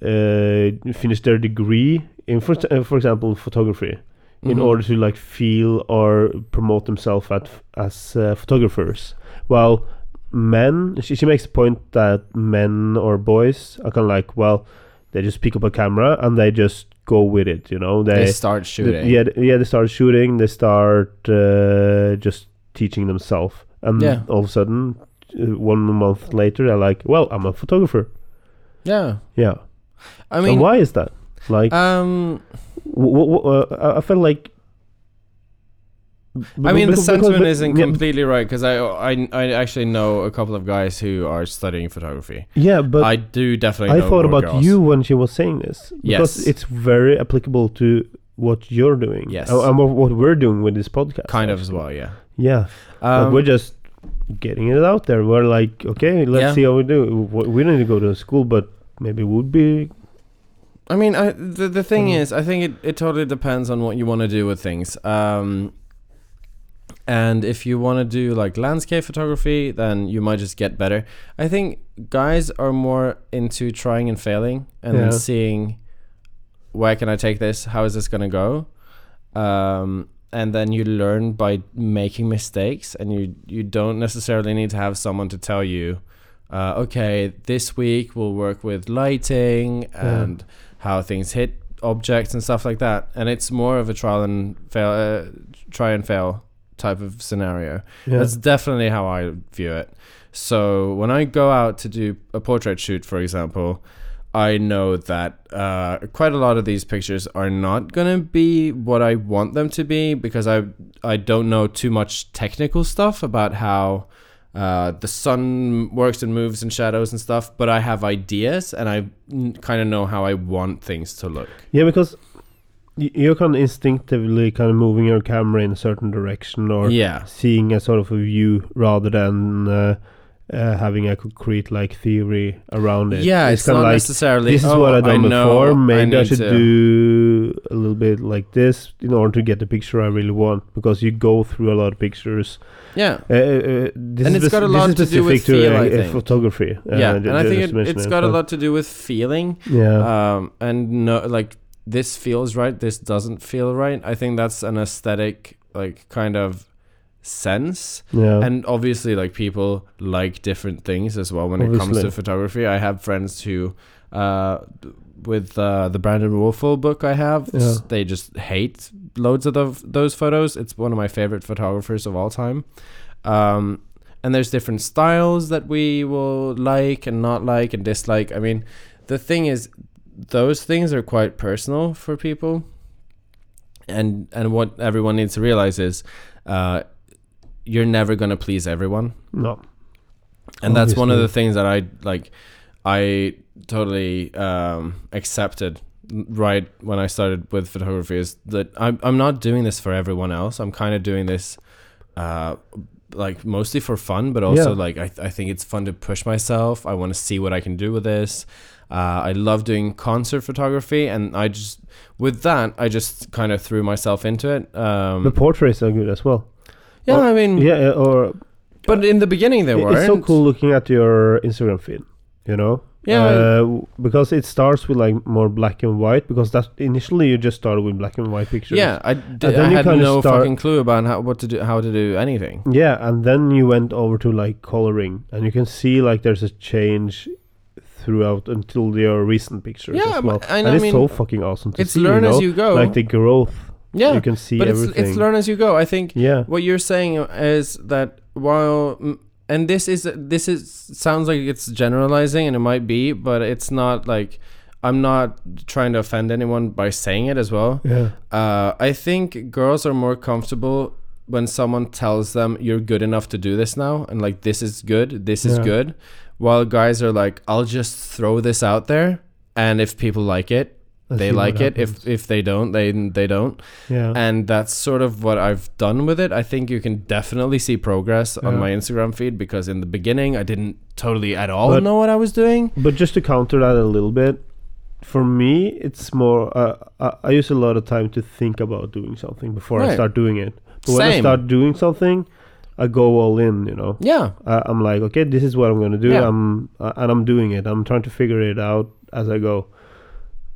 uh, finish their degree in, for, uh, for example, photography. In
Mhm.
order to like feel or promote themselves at, as uh, photographers, while men, she, she makes a point that men or boys are kind of like, well, they just pick up a camera and they just go with it, you know. They,
They start shooting.
yeah, th- yeah, they start shooting. They start uh, just teaching themselves, and
Yeah.
all of a sudden, uh, one month later, they're like, "Well, I'm a photographer."
Yeah.
Yeah,
I
and
mean,
why is that? Like,
um,
w- w- w- uh, I- I felt like.
I mean, the sentiment isn't
yeah,
completely right because I, I, I actually know a couple of guys who are studying photography.
yeah, but
I do definitely.
I
know
thought
more
about
girls.
you when she was saying this because
Yes.
it's very applicable to what you're doing. uh,
Yes.
and and what- what we're doing with this podcast.
kind of as
actually.
well. Yeah.
Yeah. Like,
Um,
we're just getting it out there. We're like, okay, let's
Yeah.
see how we do. W- We don't need to go to school, but maybe would be.
I mean, I, the the thing
Mm.
is, I think it, it totally depends on what you want to do with things. Um, and if you want to do like landscape photography, then you might just get better. I think guys are more into trying and failing and then
Yeah.
seeing where can I take this? How is this gonna go? Um, and then you learn by making mistakes, and you you don't necessarily need to have someone to tell you, uh, okay, this week we'll work with lighting
Yeah.
and how things hit objects and stuff like that. And it's more of a trial and fail, uh, try and fail type of scenario.
Yeah.
That's definitely how I view it. So when I go out to do a portrait shoot, for example, I know that uh, quite a lot of these pictures are not going to be what I want them to be because I I don't know too much technical stuff about how uh, the sun works and moves and shadows and stuff. But I have ideas and I kind of know how I want things to look.
yeah, because y- you're kind of instinctively kind of moving your camera in a certain direction or
yeah,
seeing a sort of a view rather than uh, uh, having a concrete like theory around it.
yeah. It's,
kinda
not necessarily.
this is
"Oh,
what I've done
know,
before. Maybe I,
need
should
to."
do a little bit like this in order to get the picture I really want because you go through a lot of pictures
Yeah.
Uh, uh, this
And
is
it's got a
spec- this
lot
is
to do with
specific to,
feel,
uh,
I
uh,
think.
photography. uh,
yeah,
ju-
and I
ju-
think
just
it,
to mention
it's
it,
got a
but-
lot to do with feeling,
Yeah,
um, and no, like this feels right, this doesn't feel right. I think that's an aesthetic, like kind of sense.
Yeah.
And obviously, like people like different things as well when it comes
Obviously.
to photography. I have friends who, uh, with uh, the Brandon Wolfel book I have, s-
Yeah.
they just hate loads of tho- those photos. It's one of my favorite photographers of all time. Um, and there's different styles that we will like and not like and dislike. I mean, the thing is, those things are quite personal for people. And and what everyone needs to realize is, uh, you're never gonna please everyone
no.
and that's one of the
Obviously.
things that I like. I totally um, accepted right when I started with photography is that I'm I'm not doing this for everyone else. I'm kind of doing this. Uh, like mostly for fun, but also
Yeah.
like I, I think it's fun to push myself. I want to see what I can do with this. Uh, I love doing concert photography, and I just with that I just kind of threw myself into it.
The
Um,
portraits are good as well.
yeah, I mean,
Yeah, uh, or
but in the beginning Mm-hmm. they
It-
were
It's so cool looking at your Instagram feed, you know?
Yeah.
Uh, w- because it starts with like more black and white, because that initially you just started with black and white pictures.
Yeah, I, d-
And then
I
you
had
kinda
no
start-
fucking clue about how what to do, how to do anything.
Yeah, and then you went over to like coloring, and you can see like there's a change throughout until your recent pictures
Yeah,
as well.
but I-
and
I
it's
mean,
so fucking awesome to
It's
see.
learn
you know?
as you go.
Like the growth.
yeah,
You can see
but it's
everything.
it's learn as you go. I think
yeah.
what you're saying is that while mm, and this is this is sounds like it's generalizing and it might be, but it's not like I'm not trying to offend anyone by saying it as well.
Yeah.
Uh, I think girls are more comfortable when someone tells them you're good enough to do this now and like this is good, this is
Yeah.
good. While guys are like, I'll just throw this out there and if people like it,
Let's
they
see what
like it. If
happens.
if they don't, they they don't.
Yeah.
And that's sort of what I've done with it. I think you can definitely see progress on
Yeah.
my Instagram feed because in the beginning I didn't totally at all
But-
know what I was doing.
But just to counter that a little bit, for me, it's more. Uh, I, I use a lot of time to think about doing something before I
Right.
start doing it. But when I
Same.
start doing something, I go all in. You know,
Yeah.
I, I'm like, okay, this is what I'm gonna do.
Yeah.
I'm uh, and I'm doing it. I'm trying to figure it out as I go.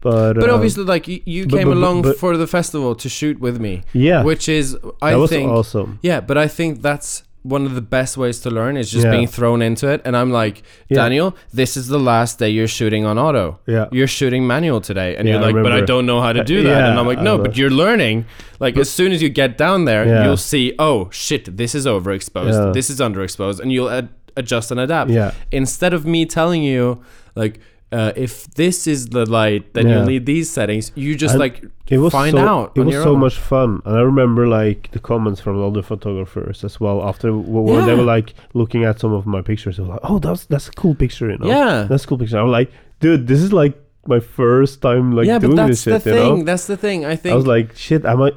But
But
um,
obviously like you, you
but-
came
but- but-
along
but-
for the festival to shoot with me.
yeah,
which is I
that was
think
awesome.
yeah, but I think that's one of the best ways to learn is just
Yeah.
being thrown into it. And I'm like,
Yeah.
Daniel, this is the last day you're shooting on auto.
Yeah,
You're shooting manual today, and
Yeah,
you're
I
like, but I
remember.
don't know how to do
Uh,
that.
yeah,
and I'm like,
I
no,
was-
but you're learning. Like as soon as you get down there,
Yeah.
you'll see, oh shit, this is overexposed,
Yeah.
this is underexposed, and you'll ad- adjust and adapt
yeah,
instead of me telling you like uh, if this is the light then
Yeah.
you need these settings you just
And
like
it was
find
so,
out
It
on
was
your
so
own.
much fun, and I remember like the comments from other photographers as well. After w- when they
Yeah.
were like looking at some of my pictures, they were like, "Oh, that's that's a cool picture," you know?
yeah
that's a cool picture. I'm like, dude, this is like my first time like
yeah,
doing
but that's
this shit.
the
you
thing.
know,
That's the thing. I think.
I was like, shit, am I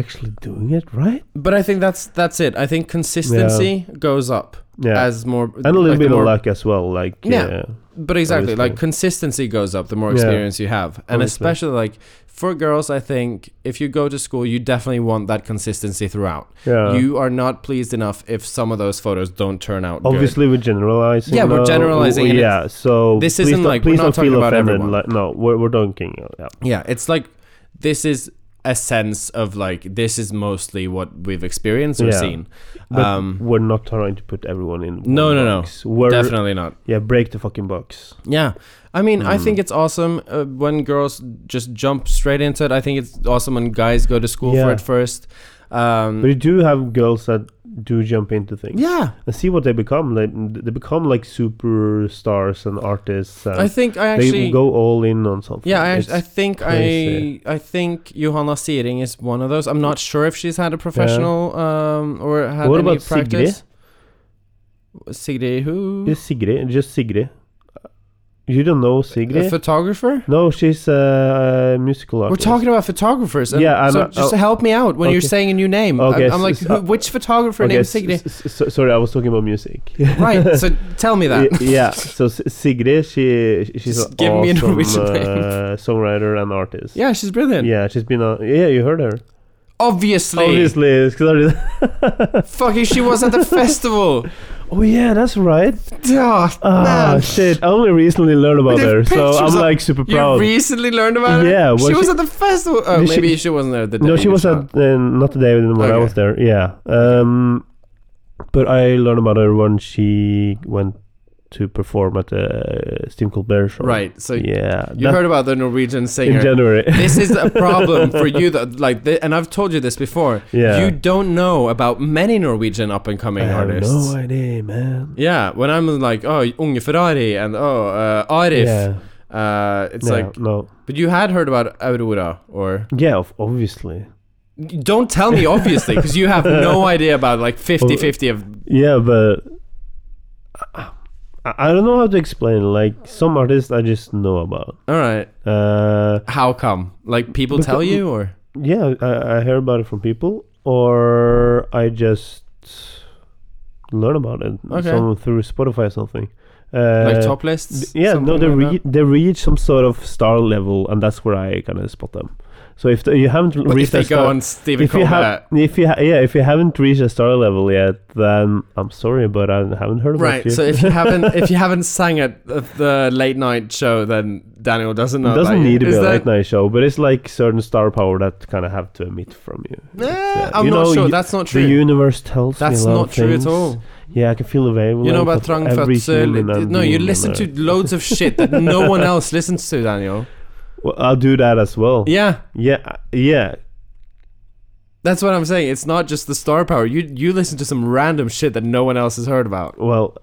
actually doing it right?
but I think that's that's it. I think consistency goes up
Yeah,
as more and
and a little bit of luck as well. Like,
Yeah.
yeah,
But exactly,
obviously.
like consistency goes up the more
Yeah.
experience you have, and
Obviously.
especially like for girls, I think if you go to school, you definitely want that consistency throughout.
yeah.
You are not pleased enough if some of those photos don't turn out. good.
Obviously, we're generalizing.
Yeah, we're
now.
generalizing
W-
and
Yeah, so
this
please
isn't
don't-
like- we're
please
not
don't
talking
feel
about
offended.
everyone.
Like, no, we're we're dunking. Yeah,
Yeah, it's like this is a sense of like this is mostly what we've experienced or
Yeah.
seen.
But
um,
we're not trying to put everyone in.
No,
one
no, no.
box. We're,
definitely not.
Yeah, break the fucking box.
Yeah. I mean, I
Mm.
think it's awesome uh, when girls just jump straight into it. I think it's awesome when guys go to school for
Yeah.
it first.
But
Um,
you do have girls that do jump into things.
yeah.
And see what they become. They, they become like superstars and artists. And
I think I
they
actually.
go all in on something.
yeah, I, act-
It's-
I think I
crazy.
I think Johanna Seering is one of those. I'm not sure if she's had a professional um, or had
What
any
about Sigrid?
practice. Sigrid, who?
Is Sigrid, just Sigrid. You don't know Sigrid?
A photographer?
no, she's a musical
We're
artist.
talking about photographers. And
Yeah, I'm
so
not-
just
oh.
help me out when you're
Okay.
saying a new name.
Okay,
I'm, I'm
so-
like,
so-
who, which photographer
okay,
named
s-
Sigrid?
s- s- sorry, I was talking about music.
right. So tell me that.
Y- yeah. So S- Sigrid, she she's
Just
an
give me a
awesome,
Norwegian name.
uh, songwriter and artist.
Yeah, she's brilliant.
Yeah, she's been on. Yeah, you heard her.
Obviously.
Obviously, it's 'cause I-
Fucking she was at the festival.
Oh yeah, that's right.
Oh,
Ah shit! I only recently learned about
With the
her, so
pictures
I'm
of-
like super
You
proud.
recently learned about it?
Yeah, well,
she,
she-
was at the festival. Oh,
She-
maybe she wasn't there the day.
no, she
you
was
saw it.
at uh, not the day when I
Okay.
was there. Yeah, um, but I learned about her when she went to perform at the Steam Cold Bear show.
Right, so
yeah,
you
that-
heard about the Norwegian singer.
in January.
this is a problem for you that like th- and I've told you this before.
Yeah.
You don't know about many Norwegian up and
I
coming
have
artists.
no idea, man.
Yeah, when I'm like, oh, Unge Ferrari and oh, uh, Arif,
yeah,
uh, it's
no,
like,
no.
but you had heard about Aurora or?
Yeah, of- obviously.
Don't tell me obviously because you have no idea about like 50-50 of.
Yeah, but I, I don't know how to explain. Like some artists, I just know about.
All right,
Uh,
how come? Like people tell you or?
yeah, I, I hear about it from people, or I just learn about it
Okay.
some, through Spotify or something. Uh,
Like top lists?
th- yeah, no,
something
they
like
re- they reach some sort of star level, and that's where I kind of spot them. So if the, you haven't
that? But if
reached
they
that star,
go on Stephen
if you have, oh,
Colbert,
if you ha- yeah, if you haven't reached a star level yet, then I'm sorry, but I haven't heard about
right?
you.
So if you haven't if you haven't sang at the late night show, then Daniel doesn't know.
it doesn't
about you.
need to be
Is
a
that-
late night show, but it's like certain star power that kind of have to emit from you.
Nah,
Yeah.
Eh, I'm
You
not
know,
sure.
you-
That's not
The
true.
universe tells me
That's
a lot
not
of
true
things.
at all.
Yeah, I can feel the wavelength
You know about
of every human
Trangfatzel?
and
No, you
being on
listen to
Earth.
loads of shit that no one else listens to, Daniel.
Well, I'll do that as well.
Yeah,
yeah, uh, yeah.
that's what I'm saying. It's not just the star power. You you listen to some random shit that no one else has heard about.
Well,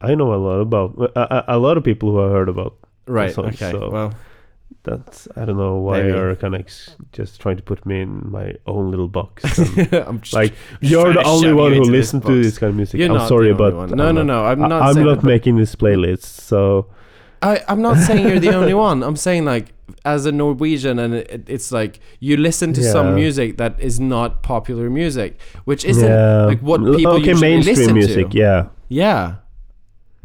I know a lot about uh, a, a, a lot of people who I heard about.
Right.
So-
okay.
so-
Well,
That's I don't know why
Maybe.
you're kind of ex- just trying to put me in my own little box. and,
I'm just,
like
just
you're
trying
the
to
only
shove
one
you
who
into this
listens to
box.
this kind of music.
You're
I'm
not
sorry,
the only
but
one. no,
I'm
no,
not-
no. I'm
I-
not.
I'm
saying
not
that,
making this playlist, so
I, I'm not saying you're the only one. I'm saying like as a Norwegian, and it, it's like you listen to some
Yeah.
music that is not popular music, which isn't
yeah.
like what
L-
people
okay,
usually
mainstream
listen
music,
to.
yeah,
Yeah,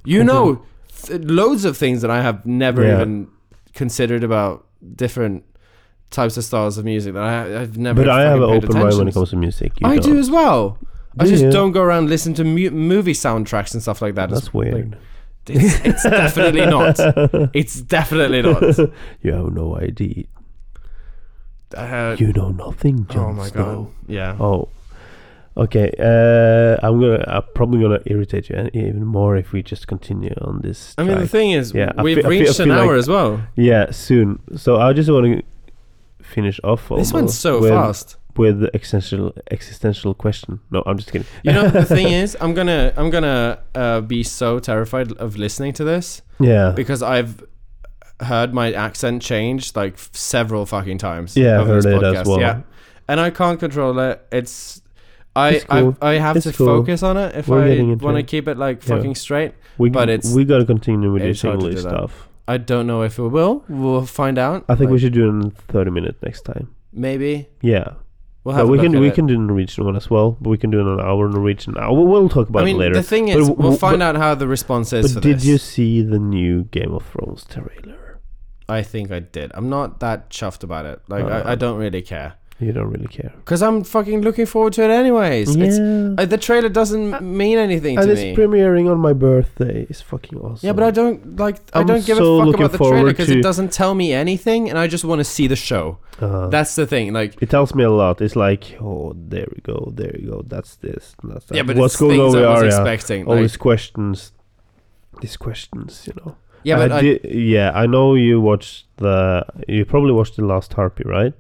you know, th- loads of things that I have never
Mm-hmm. Yeah.
even considered about different types of styles of music that I, I've never.
but I have an
fucking paid
open mind when it
attention
comes to music. You
I
don't.
do as well. I
Do
just
you?
don't go around listening to mu- movie soundtracks and stuff like that. It's
That's weird.
it's, it's definitely not. It's definitely not.
you have no idea.
Uh,
You know nothing, Jon
oh my
Snow.
god. Yeah.
Oh, okay. Uh, I'm gonna. I'm probably gonna irritate you an- even more if we just continue on this.
I mean, the
track.
thing is,
Yeah, I
we've
feel- I feel-
reached
I
an
feel like-
hour as well.
yeah, soon. So I just want to finish off.
This went
almost
so
with,
fast.
With the existential existential question. No, I'm just kidding.
You know, the thing is, I'm gonna, I'm gonna uh, be so terrified of listening to this
Yeah.
because I've heard my accent change like f- several fucking times.
Yeah, I
over this
heard it as
podcast.
well.
Yeah, and I can't control it. It's, I,
It's cool.
I, I have
It's
to
cool.
focus on it if
We're
I
getting into
want to
it.
keep it like
Yeah.
fucking straight.
we,
but it's-
we gotta continue with this
it's hard to
English
do that.
stuff.
I don't know if it will. We'll find out.
I think we
Like,
should do it in 30 minutes next time.
maybe
Yeah,
we'll
but
have. a
we
look
can
at
we
it.
can do Norwegian one as well. But we can do an hour Norwegian. Hour. We'll, we'll talk about
I mean,
it later.
the thing
But
is,
w- w-
we'll find out how the response is. for
But did
this.
you see the new Game of Thrones trailer?
I think I did. I'm not that chuffed about it. Like, I, I
Uh,
don't really care
You don't really care.
because I'm fucking looking forward to it anyways. It's,
yeah.
uh, the trailer doesn't mean anything to
and it's
me.
premiering on my birthday. It's fucking awesome.
yeah, but I don't like. I
I'm
don't give
so
a fuck
looking
about the trailer
forward
because
to-
it doesn't tell me anything, and I just want to see the show.
Uh,
That's the thing. Like,
it tells me a lot. It's like, oh, there we go, there we go. That's this. and That's that.
yeah, but
what's
it's
going
things
on with
I was
Arya?
expecting.
All
like-
these questions. These questions, you know.
yeah,
I
but I,
did- yeah, I know you watched the. You probably watched the last Harpy, right?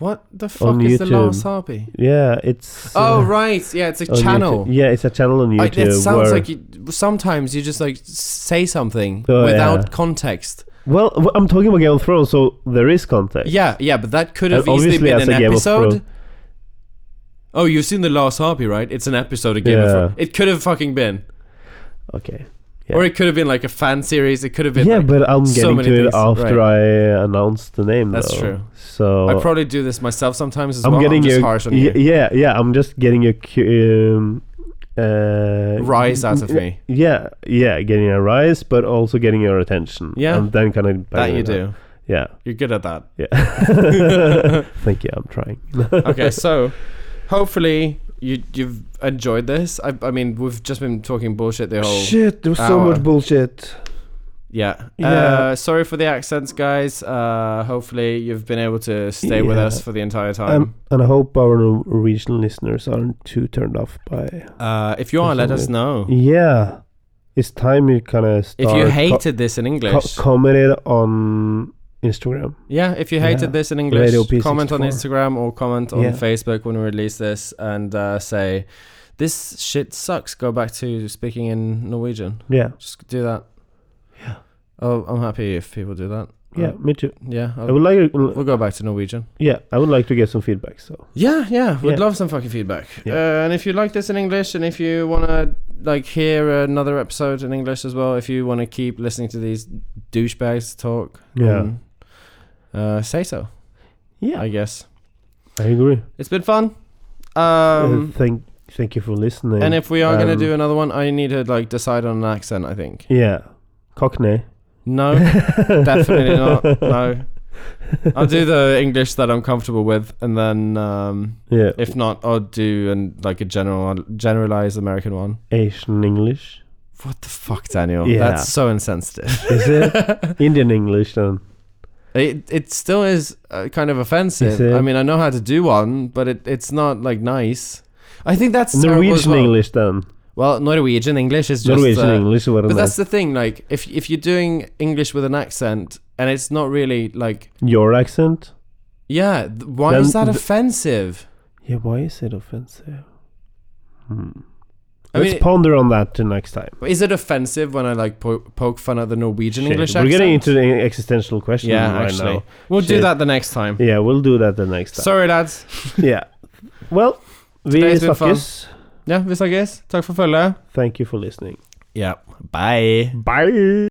what the fuck
on
is the
YouTube.
last harpy?
Yeah, it's.
Oh
uh,
right, yeah, it's a
on YouTube.
channel.
Yeah, it's a channel on
I,
YouTube.
it sounds
where,
like you, sometimes you just like say something
Oh,
without
yeah.
context.
Well, w- I'm talking about Game of Thrones, so there is context.
Yeah, yeah, but that could have
And
easily
obviously
been
as
an
a Game of
episode.
Thrones-
Oh, you've seen the last harpy, right? It's an episode of Game of
Yeah.
Thrones. It could have fucking been,
Okay. Yeah.
or it could have been like a fan series. It could have been.
yeah,
like-
but I'm
so
getting
many
to it
things,
after I announce the name.
That's
though.
true.
So
I probably do this myself sometimes as
I'm
well.
getting
I'm just
you,
harsh on
y-
you.
Yeah, yeah. I'm just getting a cu- um, uh,
Rise out of me.
Yeah, yeah. Getting a rise, but also getting your attention.
Yeah.
and then kind of
That you do.
Yeah,
You're good at that.
yeah. Thank you. I'm trying.
Okay, so hopefully you you've enjoyed this. I I mean, we've just been talking bullshit the whole.
Shit, there was so
hour.
much bullshit.
Yeah.
Yeah.
Uh, sorry for the accents, guys. Uh, hopefully you've been able to stay with
Yeah.
us for the entire time.
Um, and I hope our Norwegian listeners aren't too turned off by.
uh, if you are, let us
Absolutely.
know.
Yeah, it's time you kind of
If
start.
you
co-
hated this in
co-
English,
comment it on Instagram.
yeah. If you hated
Yeah.
this in English,
Radio P64.
comment on Instagram or comment on
Yeah.
Facebook when we release this and uh, say this shit sucks. Go back to speaking in Norwegian.
Yeah,
Just do that.
Yeah.
Oh, I'm happy if people do that.
yeah,
Uh,
me too.
yeah.
I would like.
We'll go back to Norwegian.
Yeah, I would like to get some feedback. So
Yeah, yeah, we'd
Yeah.
love some fucking feedback.
Yeah.
Uh, and if you like this in English, and if you want to like hear another episode in English as well, if you want to keep listening to these douchebags talk,
Yeah.
um, uh, say so.
Yeah.
I guess
I agree.
it's been fun.
Uh,
Um,
thank, thank you for listening.
and if we are gonna
um,
do another one, I need to like decide on an accent. I think
yeah, Cockney.
no, definitely not. No, I'll do the English that I'm comfortable with, and then um,
Yeah,
if not, I'll do and like a general generalized American one.
Asian English.
What the fuck, Daniel?
Yeah.
That's so insensitive.
Is it Indian English then?
It it still is uh, kind of offensive.
Is it?
I mean, I know how to do one, but it, it's not like nice. I think that's terrible as
Norwegian
well.
English then?
Well, Norwegian English is just
Norwegian
uh,
English. What
But
am I-
that's the thing. Like, if if you're doing English with an accent and it's not really like,
your accent?
yeah, th- why
Then
is that
th-
offensive?
Yeah, why is it offensive? Hmm.
I
Let's
mean-
ponder on that to next time.
Is it offensive when I like po- poke fun at the Norwegian
Shit,
English
We're
accent?
getting into the existential question
yeah,
right
actually,
now.
we'll do
Shit.
that the next time.
Yeah, we'll do that the next time.
Sorry, lads.
yeah. Well, vi
Today's been
snakkes.
Yeah, vi snakkes. Takk for følget.
Thank you for listening.
Yeah. Bye.
Bye.